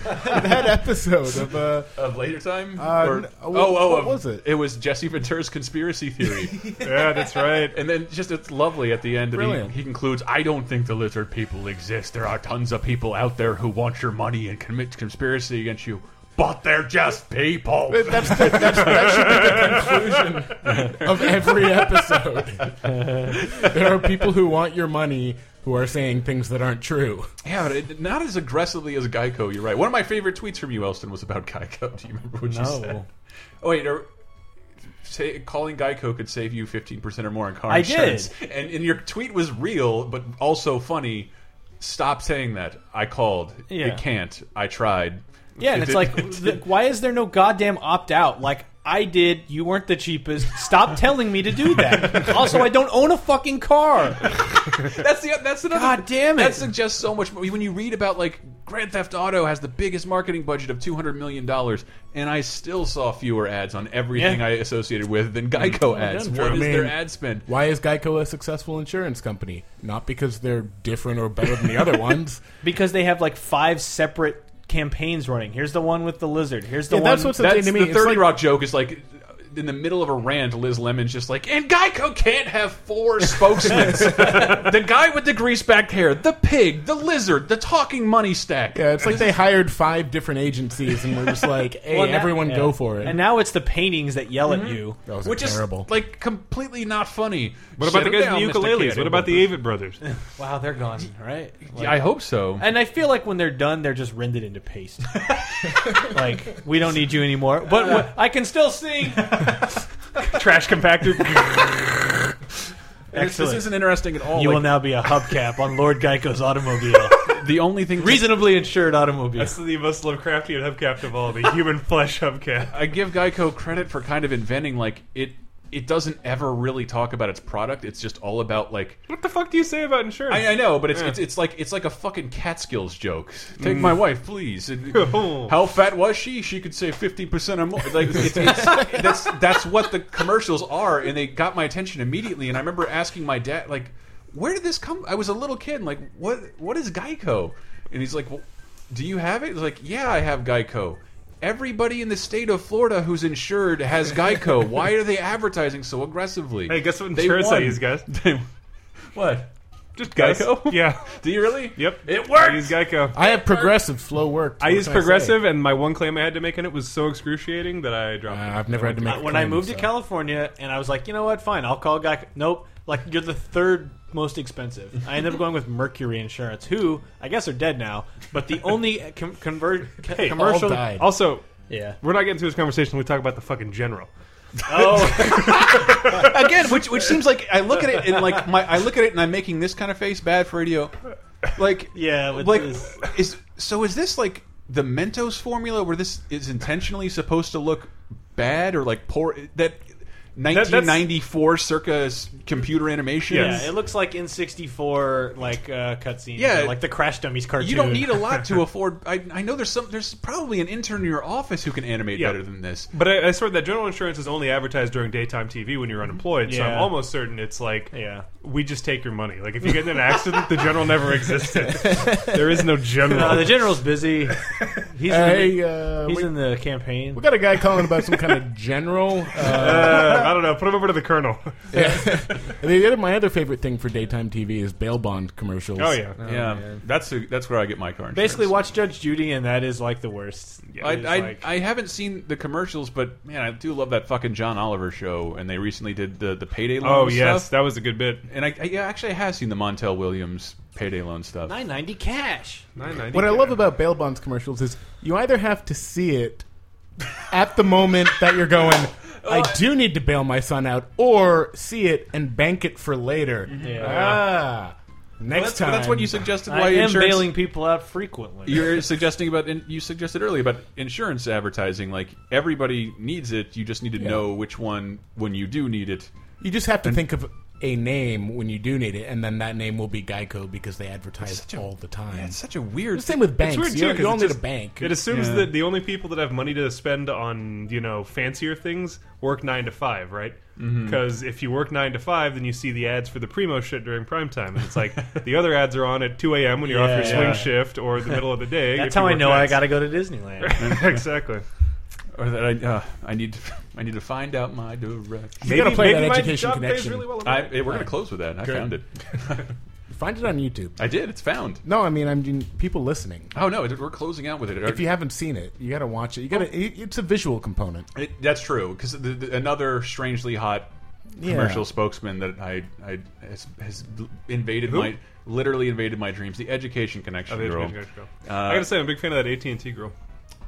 that episode of uh,
of later time?
Uh,
Or-
n- wh-
oh, oh,
what
um,
was it?
It was Jesse Ventura's conspiracy theory.
Yeah, that's right.
and then just it's lovely at the end. And
Brilliant.
he, he concludes, I don't think the lizard people exist. There are tons of people out there who want your money and commit conspiracy against you. But they're just people.
that's the, that's, that should be the conclusion of every episode. there are people who want your money who are saying things that aren't true.
Yeah, but it, not as aggressively as Geico. You're right. One of my favorite tweets from you, Elston, was about Geico. Do you remember what you said? Oh wait, or, say, calling Geico could save you 15 percent or more on car
I did.
insurance. And, and your tweet was real, but also funny. Stop saying that. I called.
Yeah.
It can't. I tried.
Yeah, and
It
it's
did-
like,
it
th- why is there no goddamn opt out? Like, I did. You weren't the cheapest. Stop telling me to do that. Also, I don't own a fucking car.
That's the that's another.
God damn it.
That suggests so much. more. When you read about like Grand Theft Auto has the biggest marketing budget of two hundred million dollars, and I still saw fewer ads on everything
Yeah.
I associated with than Geico ads.
done,
What
Drew.
is
I mean-
their ad spend?
Why is Geico a successful insurance company? Not because they're different or better than the other ones.
Because they have like five separate campaigns running. Here's the one with the lizard. Here's the
Yeah,
one.
that's what's
That's
to me.
the
It's
Thirty
like-
Rock joke is like. In the middle of a rant, Liz Lemon's just like, and Geico can't have four spokesmen. the guy with the greaseback hair, the pig, the lizard, the talking money stack.
Yeah, it's like they hired five different agencies and we're just like, hey,
Well, now-
everyone
yeah.
go for it. Mm-hmm. Oh.
And now it's the paintings that yell at you.
Those are
Which is
terrible.
like completely not funny.
What about the
Sit
guys
down,
with the
Mr.
ukuleles?
Kid.
What about the Avid brothers?
Wow, they're gone, right? Like-
Yeah, I hope so.
and I feel like when they're done, they're just rendered into paste. like we don't need you anymore, but wh- I can still sing.
Trash compactor.
This-
Excellent.
This isn't interesting at all.
You
Like,
will now be a hubcap on Lord Geico's automobile.
the only thing
Reasonably insured automobile.
That's the most Lovecraftian hubcap of all, the human flesh hubcap.
I give Geico credit for kind of inventing like it. It doesn't ever really talk about its product. It's just all about like
What the fuck do you say about insurance?
I, uh, I know, but it's, it's it's like it's like a fucking Catskills joke. Take
Mm.
my wife, please. And
Oh.
how fat was she? She could say fifty percent or more. Like it's, it's, that's that's what the commercials are, and they got my attention immediately. And I remember asking my dad, like, "Where did this come?" I was a little kid, and like, "What what is Geico?" And he's like, well, "Do you have it?" I was like, "Yeah, I have Geico." Everybody in the state of Florida who's insured has Geico. Why are they advertising so aggressively?
Hey, guess what
They
insurance I
won.
use, guys?
What?
Just guys.
Geico?
Yeah.
Do you really?
Yep.
It
I
works.
use Geico.
I have progressive slow work.
I
What
used
can say?
Progressive, and my one claim I had to make in it was so excruciating that I dropped
Uh,
it.
I've never had to make.
Uh,
a
when I
claim,
moved to
so.
California, and I was like, you know what, fine, I'll call Geico. Nope, like you're the third most expensive. I ended up going with Mercury Insurance, who I guess are dead now, but the only com- convert co- commercial.
all died.
Also,
Yeah.
we're not getting to this conversation. We talk about the fucking general.
Oh,
again, which which seems like I look at it and like my I look at it and I'm making this kind of face bad for radio. Like
Yeah, with
like
this.
is so is this like the Mentos formula where this is intentionally supposed to look bad or like poor that. 1994 circa s- computer animation.
yeah. It looks like in '64, like uh, cutscenes.
Yeah.
Yeah, like the Crash Dummies cartoon.
you don't need a lot to afford. I, I know there's some. There's probably an intern in your office who can animate
Yeah.
better than this.
But I, I swear that general insurance is only advertised during daytime TV when you're unemployed. So I'm
Yeah.
almost certain it's like
Yeah.
we just take your money. Like if you get in an accident, the general never existed. there is no general.
Uh, the general's busy. He's, in,
Hey,
the,
uh,
he's
we,
in the campaign.
we got a guy calling about some kind of general. Uh,
Uh, I don't know. Put him over to the colonel.
the other, my other favorite thing for daytime TV is bail bond commercials.
Oh yeah.
yeah, that's a, that's where I get my car. Insurance.
Basically, watch Judge Judy, and that is like the worst.
I,
It is,
I,
like-
I haven't seen the commercials, but man, I do love that fucking John Oliver show. And they recently did the the payday loan.
Oh yes,
stuff.
that was a good bit.
and I, I yeah, actually I have seen the Montel Williams payday loan stuff.
990 cash.
What I love about bail bonds commercials is you either have to see it at the moment that you're going, I do need to bail my son out, or see it and bank it for later.
Mm-hmm.
Ah, next
That's,
time.
that's what you suggested. Why
I am
insurance?
bailing people out frequently.
You're suggesting about in, you suggested earlier about insurance advertising. Like everybody needs it. You just need to know which one when you do need it.
You just have to think of a name when you do need it, and then that name will be Geico because they advertise
a-
all the time.
It's such a weird.
the same with banks.
weird,
you,
too, 'cause
you all
it's
need
just-
a bank.
It assumes
Yeah.
that the only people that have money to spend on you know fancier things work nine to five, right?
Mm-hmm.
Because if you work nine to five, then you see the ads for the primo shit during prime time, and it's like the other ads are on at two a.m. when you're off your swing
Yeah.
shift or the middle of the day.
That's how I know I got to go to Disneyland.
got exactly.
Or that I, uh, I need to, I need to find out my direction.
you gotta play that
my
education
job pays
connection.
really well.
I, eh, we're going to close with that. I found it.
Find it on YouTube.
I did. It's found.
No, I mean, I mean people listening.
Oh no, it- we're closing out with it.
If you haven't seen it, you gotta watch it. You gotta. it- it's a visual component.
It- that's true because the, the, another strangely hot commercial spokesman that I, I has, has invaded my literally invaded my dreams. The education connection
Oh, The
girl.
education connection girl.
Uh,
I gotta say, I'm a big fan of that AT and T girl.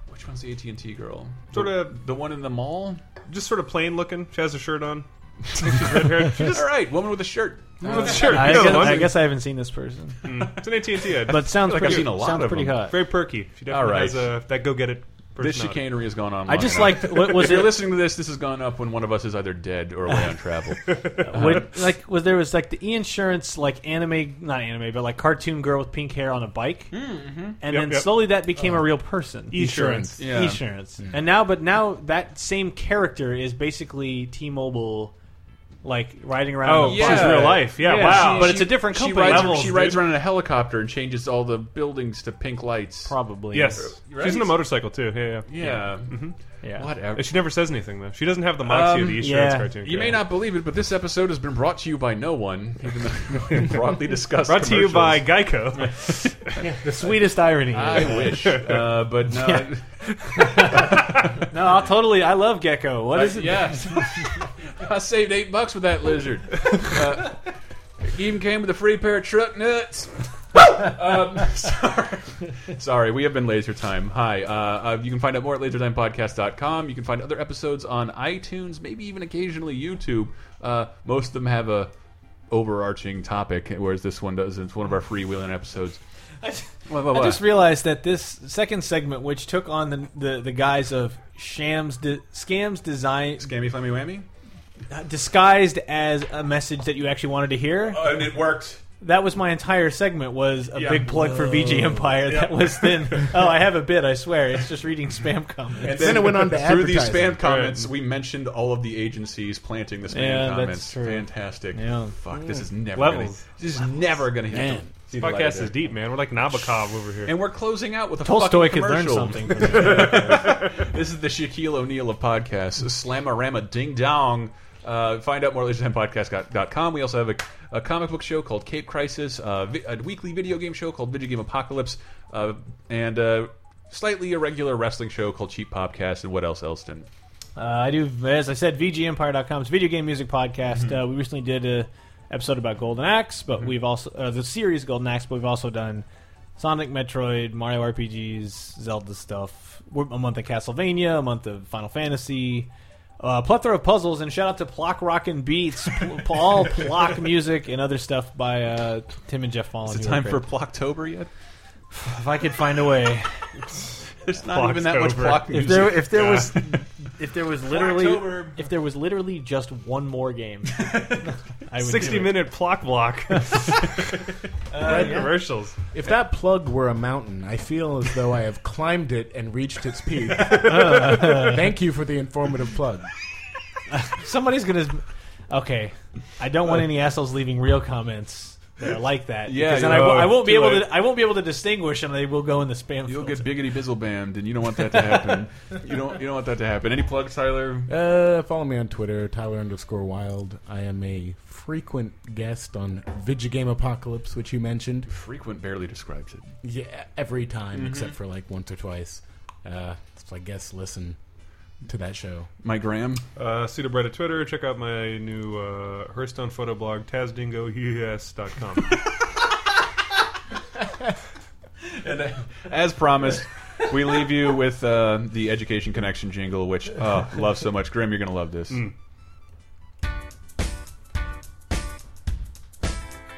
Which one's the AT and T girl?
Sort
The-
of-
the one in the mall.
Just sort of plain looking. She has a shirt on. She's red haired. She's
All right, woman with a shirt.
with a shirt.
I,
You know the
guess,
one.
I guess I haven't seen this person,
it's an AT and T ad.
but sounds
Mm. like I've
pretty.
seen a lot
sounds
of
pretty
them.
hot.
very perky. She definitely
All right.
has a, that go get it.
This
personality.
chicanery has gone on.
I
long
just
enough.
liked. What,
If
was
you're
it
listening to this, this has gone up when one of us is either dead or away on travel.
when, like was there was like the e insurance like anime not anime but like cartoon girl with pink hair on a bike and
Yep,
then
yep.
slowly that became a real person
e-,
Insurance.
E-, Yeah.
insurance and now but now that same character is basically T-Mobile like riding around
Oh,
in a
Yeah.
she's
bike.
real life. Yeah,
Yeah.
wow.
But it's a different
She
company.
rides,
Levels,
she rides
dude.
around in a helicopter and changes all the buildings to pink lights.
probably
yes,
Right?
she's in a motorcycle too. Yeah, yeah.
Yeah.
yeah
Whatever.
And she never says anything though. She doesn't have the moxie of the insurance
yeah.
cartoon.
Um, You may
character.
not believe it, but this episode has been brought to you by no one, even though we broadly discussed.
Brought to you by
commercials.
Geico.
the sweetest irony
I wish, uh, but no.
Yeah. no I'll totally I love Gecko what
I,
is it
yeah, I saved eight bucks with that lizard. Uh, it even came with a free pair of truck nuts. um, sorry. sorry, we have been Laser Time. Hi, uh, uh, you can find out more at lasertimepodcast.com. You can find other episodes on iTunes, maybe even occasionally YouTube. Uh, most of them have a overarching topic, whereas this one does. It's one of our freewheeling episodes. What, what,
I
what?
just realized that this second segment, which took on the the, the guise of shams de, scams design
Scammy, flammy, whammy.
disguised as a message that you actually wanted to hear,
Oh, and it worked.
that was my entire segment. Was a
Yeah.
big plug for VG Empire. That was then. oh, I have a bit. I swear, it's just reading spam comments.
And
Then it went on to
through these
advertising.
spam comments. We mentioned all of the agencies planting the spam
Yeah, that's
comments.
true.
Fantastic.
Yeah.
Fuck, this is never
Levels.
Gonna, this is never going to hit. the- see the light of
Podcast
day.
is deep, man. We're like Nabokov over here.
And we're closing out with a
Tolstoy
fucking
could learn
commercial.
something. From this.
This is the Shaquille O'Neal of podcasts. Slamorama Ding Dong. Uh, find out more at lasertimepodcast.com. We also have a, a comic book show called Cape Crisis, uh, vi a weekly video game show called Video Game Apocalypse, uh, and a slightly irregular wrestling show called Cheap Popcast. And what else, Elston?
Uh, I do, as I said, VGEmpire.com. It's a video game music podcast. Uh, we recently did a episode about Golden Axe, but we've also uh, the series Golden Axe, but we've also done Sonic, Metroid, Mario RPGs, Zelda stuff. We're, a month of Castlevania, a month of Final Fantasy, uh, plethora of puzzles, and shout out to Plock Rockin' Beats, pl- pl- all Plock music and other stuff by uh, Tim and Jeff Fallon.
Is it
who are
time
great.
for Blocktober yet?
if I could find a way.
There's not even that much
Blocktober.
block
If
music.
there, if there was, if there was literally,
October.
if there was literally just one more game, I would do
Sixty
it.
minute plock block.
Uh,
Red commercials.
If that plug were a mountain, I feel as though I have climbed it and reached its peak. Thank you for the informative plug.
Somebody's gonna. Okay, I don't want any assholes leaving real comments that are like that.
Uh, Yeah,
because then
you-
I, won't-
oh,
I won't be
too
able
late.
to. I won't be able to distinguish, and they will go in the spam.
You'll
filter.
get biggity bizzle bammed, and you don't want that to happen. you don't. You don't want that to happen. Any plugs, Tyler?
Uh, follow me on Twitter, Tyler underscore Wild. I am a frequent guest on Vigigame Apocalypse, which you mentioned.
Frequent barely describes it.
Yeah, every time except for like once or twice. Uh, so I guess listen to that show.
My gram.
Uh, Pseudobread at Twitter. Check out my new uh, Hearthstone photo blog, tazdingoes.com.
And uh, as promised, we leave you with uh, the education connection jingle, which uh, love so much. Grim, you're gonna love this.
Mm.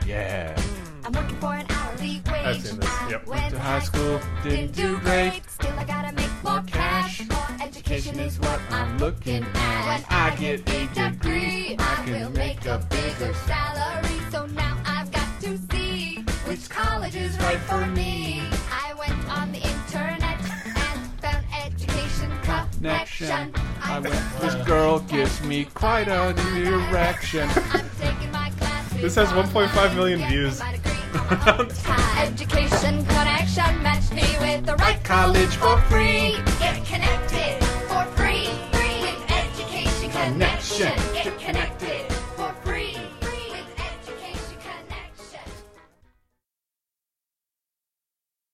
Yeah.
I'm looking for an hourly wage.
I've seen this, yep.
I went to
high school, didn't do great.
Still, I gotta make more cash. More education is what I'm looking at. When
I
I
get
get a degree, I will make a bigger salary. So now I've got to see which college is right for me. I went on the internet and found education connection. I went
This girl gives me quite an erection.
I'm taking my classes.
This has 1.5 million
online,
views.
getting my degree on Education connection matched me with the right college for free. Get connected for free. Free with education connection.